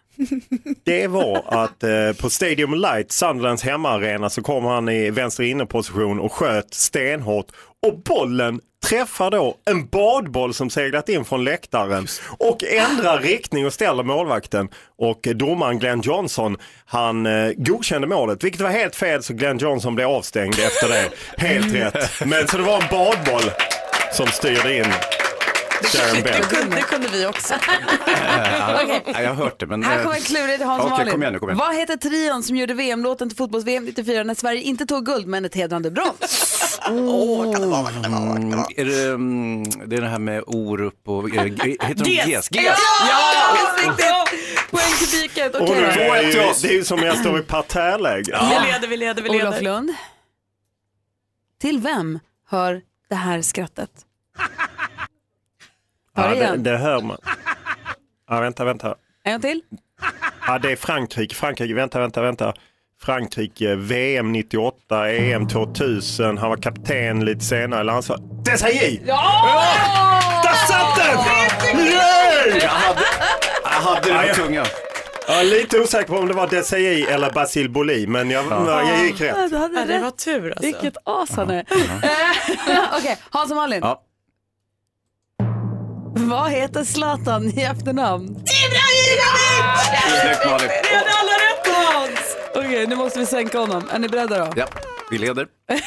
Det var att eh, på Stadium Light, Sunderlands hemmaarena, så kom han i vänster innerposition och sköt stenhårt. Och bollen träffar då en badboll som seglat in från läktaren och ändrar riktning och ställer målvakten. Och eh, domaren Glenn Johnson, han eh, godkände målet, vilket var helt fel så Glenn Johnson blev avstängd efter det. Helt rätt. Men så det var en badboll som styrde in Sharon
Det
Bell.
kunde, det kunde vi också.
Okej.
Ja, jag har hört det, men...
Här
eh,
kommer en klurig till Hans och
okej,
Malin.
kom igen nu, kom igen.
Vad heter trion som gjorde VM-låten till fotbolls-VM 94 när Sverige inte tog guld men ett hedrande brons?
Mm, är det, mm, det är det här med Orup och... eh, Heter de GES?
Ja!
GES!
helt riktigt! Poäng till Byket,
Och
okej.
det, är ju, det är ju som jag står i parterläge.
vi leder, vi
Olof
leder.
Lund. Till vem hör det här skrattet? Ta
Ja,
det
det,
igen.
det hör man. Ja, vänta, vänta.
En gång till.
Ja, det är Frankrike, Frankrike, vänta, vänta, vänta. Frankrike, eh, VM 98, EM 2000, E han var kapten lite senare i landslaget. Desailly!
Ja!
Där satt den! Yay! Jag hade,
jag hade det på tungan.
Jag är lite osäker på om det var Desailly eller Basile Boli, men jag, jag gick rätt.
Ja, du hade
Ja, det
rätt.
var tur alltså.
Vilket as han är. Okej, Hans och Malin.
Ja.
Vad heter Zlatan i efternamn?
Snyggt Malin.
Det hade alla rätt Hans!
Okej, nu måste vi sänka honom. Är ni beredda då?
Ja, vi leder.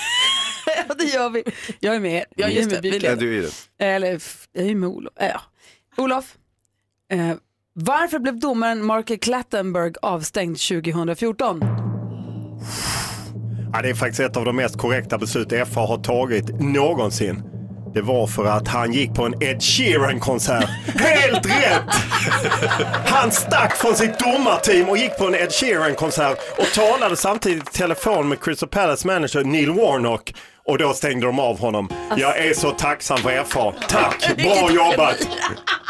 Ja, det gör vi. Jag är med er. Jag är med bilen.
Ja, du är det.
Eller, f- jag är ju med Olof. Eh, Ja. Olof, eh, varför blev domaren Mark Clattenburg avstängd 2014?
Ja, det är faktiskt ett av de mest korrekta beslut FA har tagit någonsin. Det var för att han gick på en Ed Sheeran-konsert. Helt rätt! Han stack från sitt domarteam och gick på en Ed Sheeran-konsert och talade samtidigt i telefon med Crystal Palace manager Neil Warnock. Och då stängde de av honom. Jag är så tacksam för FA. Tack! Bra jobbat!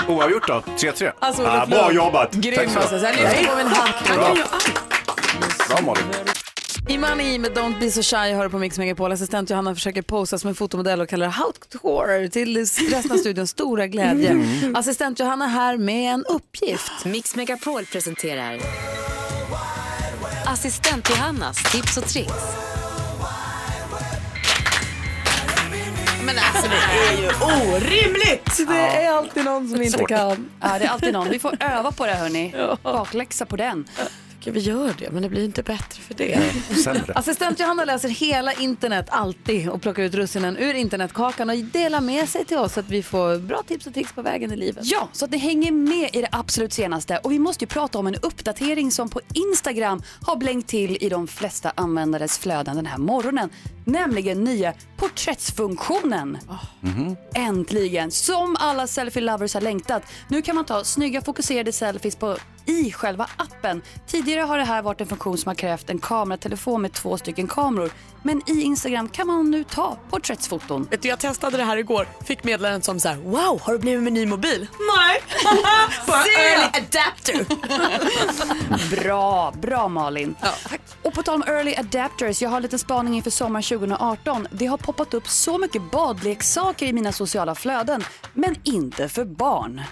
Oavgjort då? 3-3.
Alltså, Olof
ah, bra
Lund,
jobbat!
Grym
Tack så
alltså. Så här,
mycket.
lyfter på min hatt. Han kan ju
Bra Malin.
Imani med Don't Be So Shy hör på Mix Megapol. Assistent Johanna försöker posa som en fotomodell och kallar det outdoor till resten av studions stora glädje.
Mm.
Assistent Johanna här med en uppgift.
Mix Megapol presenterar Assistent Johannas tips och tricks.
Men alltså det är ju orimligt!
Det är alltid någon som inte
Svårt.
kan.
Ja, det är alltid någon. Vi får öva på det hörni. Bakläxa på den.
Tycker vi gör det, men det blir inte bättre för det.
Sämre.
Assistent Johanna läser hela internet alltid och plockar ut russinen ur internetkakan och delar med sig till oss så att vi får bra tips och tricks på vägen i livet.
Ja, så att ni hänger med i det absolut senaste. Och vi måste ju prata om en uppdatering som på Instagram har blänkt till i de flesta användares flöden den här morgonen. Nämligen nya porträttsfunktionen.
Ah.
Äntligen! Som alla selfie lovers har längtat. Nu kan man ta snygga fokuserade selfies på, i själva appen. Tidigare har det här varit en funktion som har krävt en kameratelefon med två stycken kameror. Men i Instagram kan man nu ta porträttsfoton.
Vet du, jag testade det här igår. Fick meddelandet som så här, wow, har du blivit med ny mobil?
Nej!
Bara early
adapter! bra, bra Malin. Och på tal om early adapters, jag har lite spaning inför sommaren 2018. Det har poppat upp så mycket badleksaker i mina sociala flöden, men inte för barn.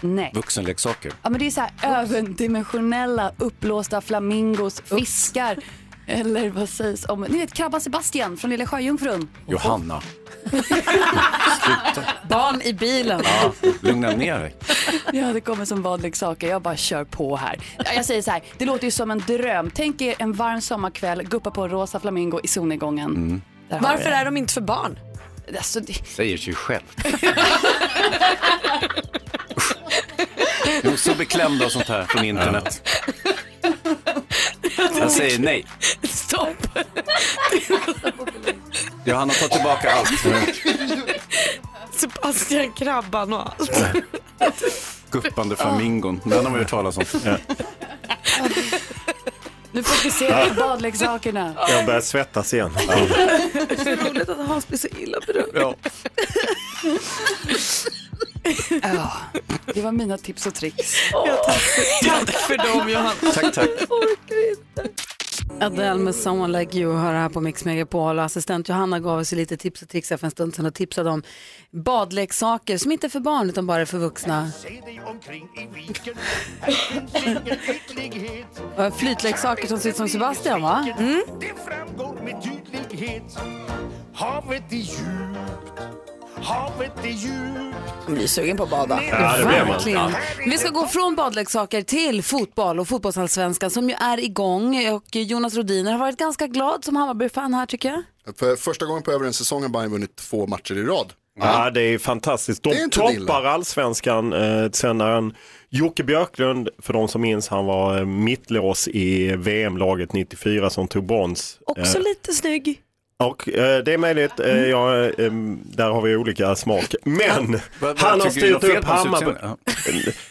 Nej.
Vuxenleksaker.
Ja, men det är så här överdimensionella uppblåsta flamingos, fiskar eller vad sägs om, ni vet Krabban Sebastian från Lilla Sjöjungfrun.
Johanna.
Barn i bilen.
Lugna ner dig.
Ja, det kommer som badleksaker. Jag bara kör på här. Ja, Jag säger så här, det låter ju som en dröm. Tänk er en varm sommarkväll, guppa på en rosa flamingo i solnedgången.
Mm.
Där har
Varför
vi det.
är de inte för barn?
Alltså, det...
Säger sig själv. Usch. Jag är så beklämd av sånt här från internet. Jag säger nej.
Stopp!
Johanna tar tillbaka allt.
Sebastian Krabban och allt.
Guppande flamingon. Den har man ju hört talas om.
Nu fokuserar vi på badleksakerna.
Jag börjar svettas igen.
Det är så roligt att Hans blir så illa berörd.
Ja.
Ja, det var mina tips och tricks.
Tack för dem Johan.
Tack, tack.
Adele med Someone Like You hör här på Mix Megapol och assistent Johanna gav oss ju lite tips och tricks här för en stund sedan och tipsade om badleksaker som inte är för barn utan bara är för vuxna. Och Flytleksaker som ser ut som Sebastian va? Mm.
Det framgår med tydlighet. Havet är djupt. Havet är djupt.
Man blir sugen på att bada.
Ja, det blir man.
Verkligen. Vi ska gå från badleksaker till fotboll och fotbollsallsvenskan som ju är igång och Jonas Rodiner har varit ganska glad som Hammarby-fan här tycker jag.
För första gången på över en säsong har Bayern vunnit två matcher i rad.
Ja, det är fantastiskt.
Det är
De
inte det illa.
toppar allsvenskan eh, sen när en Jocke Björklund, för de som minns, han var eh, mittlås i VM-laget 94 som tog brons.
Också
Eh,
lite Mm. snygg.
och eh, det är möjligt, eh, jag, eh, där har vi olika smak. Men
Vad- vad
han har
tycker du är
styrt
fel
upp
på hans
Hammarby.
utseende?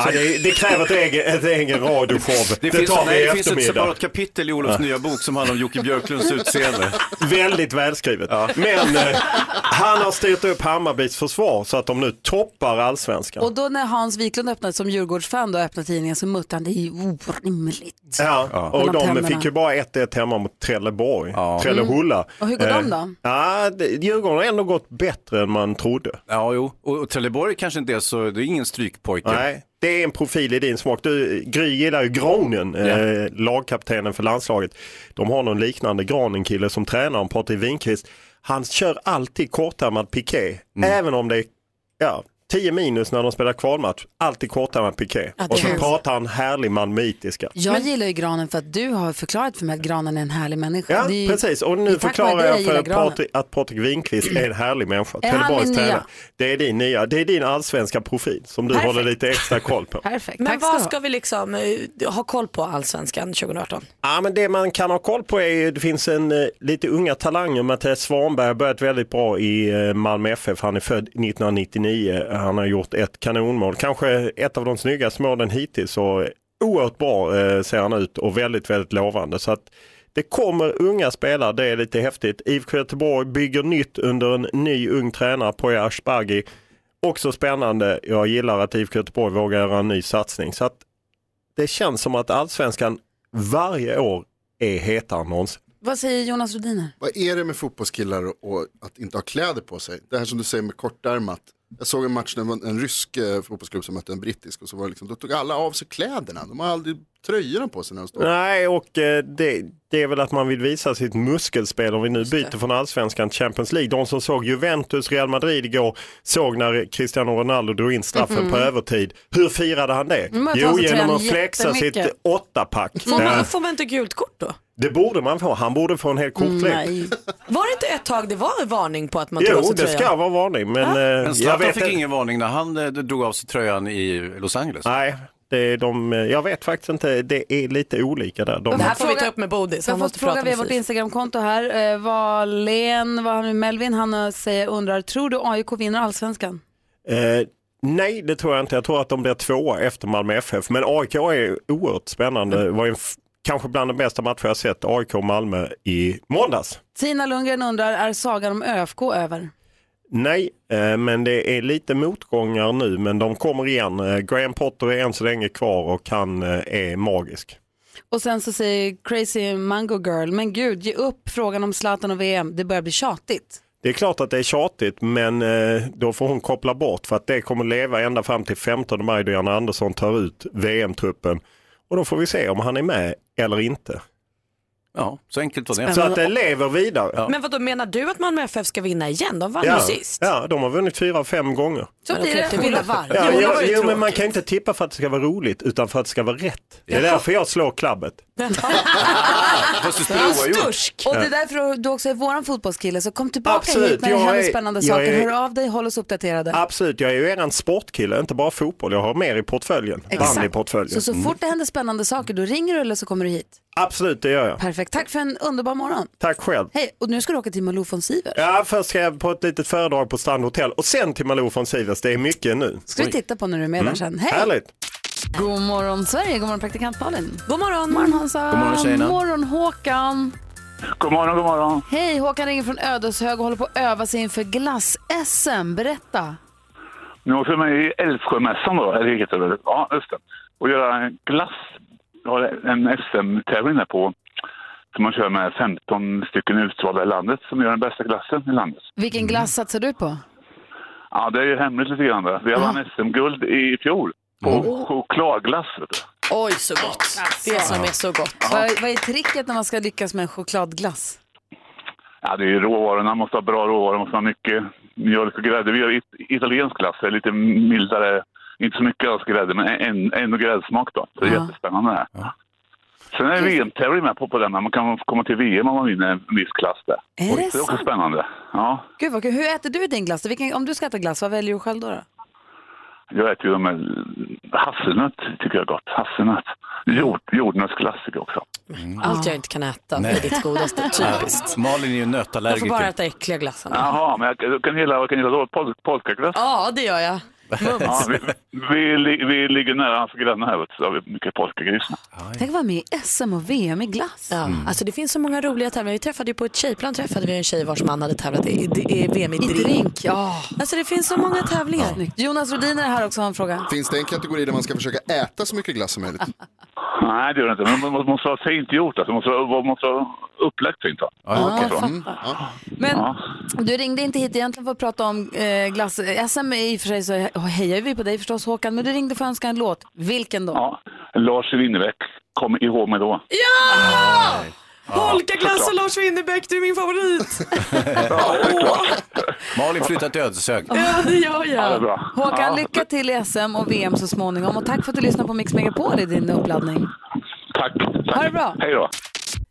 Ja, det, det kräver ett egen, ett egen radioshow.
Det,
Det,
finns,
tar vi
nej,
i
det finns ett
eftermiddag.
separat kapitel i Olofs
Ja.
nya bok som handlar om Jocke Björklunds utseende.
Väldigt välskrivet. Men eh, han har styrt upp Hammarbys försvar så att de nu toppar allsvenskan.
Och då när Hans Wiklund öppnade som Djurgårdsfan då öppnade tidningen så muttade han det är ju orimligt.
Ja, och
Mellan
de
tänderna. Mm.
fick ju bara 1-1 hemma mot Trelleborg, Trellehulla. Eh,
Och hur går de då?
Ja, det- Djurgården har ändå gått bättre än man trodde.
Ja, jo. Och, och Trelleborg kanske inte är så, det är ingen strykpojke.
Nej, det är en profil i din smak. Du, Gry gillar ju granen, eh, lagkaptenen för landslaget. De har någon liknande granen-kille som tränaren, Patrik Winqvist. Han kör alltid kortärmad piké, även om det är ja, 10 minus när de spelar kvalmatch, alltid kortare än Piqué.
Ja, det
Och så
är det.
pratar han härlig malmöitiska.
Jag gillar ju granen för att du har förklarat för mig att granen är en härlig människa.
Ja,
Det är ju-
precis. Och
det
nu
är tack vare
förklarar
det
jag för
gillar granen.
Patrik, att Patrik Winqvist är en härlig människa.
Är han
Trelleborgs
min nya?
tränare. Det är din nya, det är din allsvenska profil som du
Perfekt.
håller lite extra koll på.
Perfekt.
Men
Tack
vad
ska du ha.
ska vi liksom eh, ha koll på allsvenskan 2018?
Ja, men det man kan ha koll på är ju, det finns en eh, lite unga talanger, Mattias Svanberg har börjat väldigt bra i eh, Malmö FF, han är född 1999, han har gjort ett kanonmål, kanske ett av de snyggaste målen hittills och oerhört bra eh, ser han ut och väldigt, väldigt lovande. Så att det kommer unga spelare, det är lite häftigt. IFK Göteborg bygger nytt under en ny ung tränare, Poya Ashbagi. Också spännande, jag gillar att IFK Göteborg vågar göra en ny satsning. Så att det känns som att allsvenskan varje år är hetare än någonsin.
Vad säger Jonas Rhodiner?
Vad är det med fotbollskillar och att inte ha kläder på sig? Det här som du säger med kortärmat. Jag såg en match när det var en rysk eh, fotbollsklubb som mötte en brittisk och så var det liksom, då tog alla av sig kläderna. De har aldrig tröjorna på sig när de står.
Nej, och eh, det, det är väl att man vill visa sitt muskelspel om vi nu byter från allsvenskan till Champions League. De som såg Juventus Real Madrid igår såg när Cristiano Ronaldo drog in straffen
Mhm.
på övertid. Hur firade han det?
Mm, att han
Jo,
så
genom
tränar
att flexa sitt
jättemycket.
åttapack.
Får man,
Det-
får man inte gult kort då?
Det borde man få. Han borde få en hel kortlek.
Var det inte ett tag det var en varning på att man tog av
Jo,
sig
det
tröjan?
ska vara varning. Men,
Ja.
eh,
Men
jag
Zlatan
vet
fick
inte-
ingen varning när han eh, drog av sig tröjan i Los Angeles.
Nej, det är de, jag vet faktiskt inte. Det är lite olika där. De,
Det här får vi ta upp med Bodis.
Jag
Han
får
måste
fråga
prata
via
med
vårt
Sif.
Instagramkonto här. Eh, Valen, vad har vi Melvin, han eh, säger, undrar, tror du AIK vinner allsvenskan?
Eh, nej, det tror jag inte. Jag tror att de blir tvåa efter Malmö FF. Men AIK är oerhört spännande. Det var en f- kanske bland de bästa matcher jag sett. AIK och Malmö i måndags.
Tina Lundgren undrar, är sagan om ÖFK över?
Nej, eh, men det är lite motgångar nu, men de kommer igen. Eh, Graham Potter är än så länge kvar och han eh, är magisk.
Och sen så säger Crazy Mango Girl, men gud, ge upp frågan om Zlatan och VM, det börjar bli tjatigt.
Det är klart att det är tjatigt, men eh, då får hon koppla bort för att det kommer leva ända fram till 15 maj då Janne Andersson tar ut VM-truppen. Och då får vi se om han är med eller inte.
Ja, så enkelt var det.
Så att det lever vidare.
Men vad menar du att Malmö FF ska vinna igen? De vann
ja.
ju sist.
Ja, de har vunnit fyra, fem gånger.
Så blir det.
Du vinna varje
Ja,
år.
jo,
Det var ju
jo, men
tråkigt.
man kan inte tippa för att det ska vara roligt utan för att det ska vara rätt. Det är
Jaha.
därför jag slår klabbet. Fast du spelar oavgjort.
Och det
Ja.
är därför du också är våran fotbollskille, så kom tillbaka
Absolut,
hit när det
jag
händer
är-
spännande
jag
saker.
är-
Hör av dig, håll oss uppdaterade.
Absolut, jag är ju eran sportkille, inte bara fotboll. Jag har mer i portföljen. Band i portföljen.
Så så
Mm.
fort det händer spännande saker, då ringer du eller så kommer du hit.
Absolut, det gör jag.
Perfekt, tack för en underbar morgon.
Tack själv.
Hej, och nu ska du åka till Malou von Sivers.
Ja, först ska jag på ett litet föredrag på Strand Hotel och sen till Malou von Sivers. Det är mycket nu. Mm.
ska vi titta på när du är med
Mm.
där sen. Hej!
Härligt.
God morgon Sverige, god morgon praktikant Malin. God
morgon.
morgon Hansa.
God morgon, tjejerna.
morgon Håkan.
God morgon, god morgon.
Hej, Håkan ringer från Ödeshög och håller på att öva sig inför glass-SM. Berätta.
Nu åker man ju i Älvsjömässan då, eller vilket är det? Ja, just det. Och göra glass. Vi har en SM-tävling där på som man kör med 15 stycken utvalda i landet som gör den bästa glassen i landet.
Vilken glass satsar du på?
Ja, det är ju hemligt lite grann där. Vi har vann SM-guld i fjol på chokladglass. Vet du.
Oj, så gott. Det som är så gott.
Vad, vad är tricket när man ska lyckas med en chokladglass?
Ja, det är ju råvarorna. Man måste ha bra råvaror, man måste ha mycket mjölk och grädde. Vi gör it- italiensk glass, det är lite mildare. Inte så mycket alls grädde, men en- ändå gräddsmak då. Så det är jättespännande det här. Sen är det VM-tävling med på, på den. här. Man kan komma till VM om man vinner en viss klass där.
Är det
det är också
sant?
spännande. Ja,
Gud vad kul. Hur äter du din glass? då? Vilken, om du ska äta glass, vad väljer du själv då? då?
jag äter ju de här hasselnöt, tycker jag är gott. Hasselnöt. Jord, jordnötsglass tycker jag också.
Allt jag inte kan äta
Nej.
är ditt godaste. Typiskt.
Ja, Mm. Malin är ju
Jag får bara
nötallergiker.
äta äckliga glassarna.
Jaha, men jag jag kan gilla, jag kan gilla då pol, polkaglass.
Ja, det gör jag.
Ja, vi, vi, li- vi ligger nära hans grannar här, vet du, så har vi mycket polkagris.
Tänk att vara med i SM och VM i glass.
Ja, alltså det finns så många roliga tävlingar. Vi träffade ju på ett tjejplan träffade vi en tjej vars man hade tävlat i, i, i VM i drink.
ja.
Alltså det finns så många tävlingar.
Jonas Rodiner är här också och har en fråga.
Finns det en kategori där man ska försöka äta så mycket glass som möjligt?
Nej, det gör det inte. Men man måste- måste vara fint gjort. Alltså. Man måste, vara- måste vara upplagt fint. va?
Mm, ja,
Måste
jag
vara.
Men
Ja.
du ringde inte hit egentligen för att prata om eh, glass-SM. I och för sig så he- hejar vi på dig förstås Håkan, men du ringde för att önska en låt. Vilken då?
Lars Winnerbäck, kom ihåg mig då.
Ja!
Polkaglass och Lars Winnerbäck, du är min favorit.
Malin flyttar till Ödeshög.
Ja, det gör
Ja, det är
jag.
bra.
Håkan,
Ja.
lycka till i SM och VM så småningom. Och tack för att du lyssnade på Mix Megapol i din uppladdning.
Tack.
Ha det bra.
Hej då.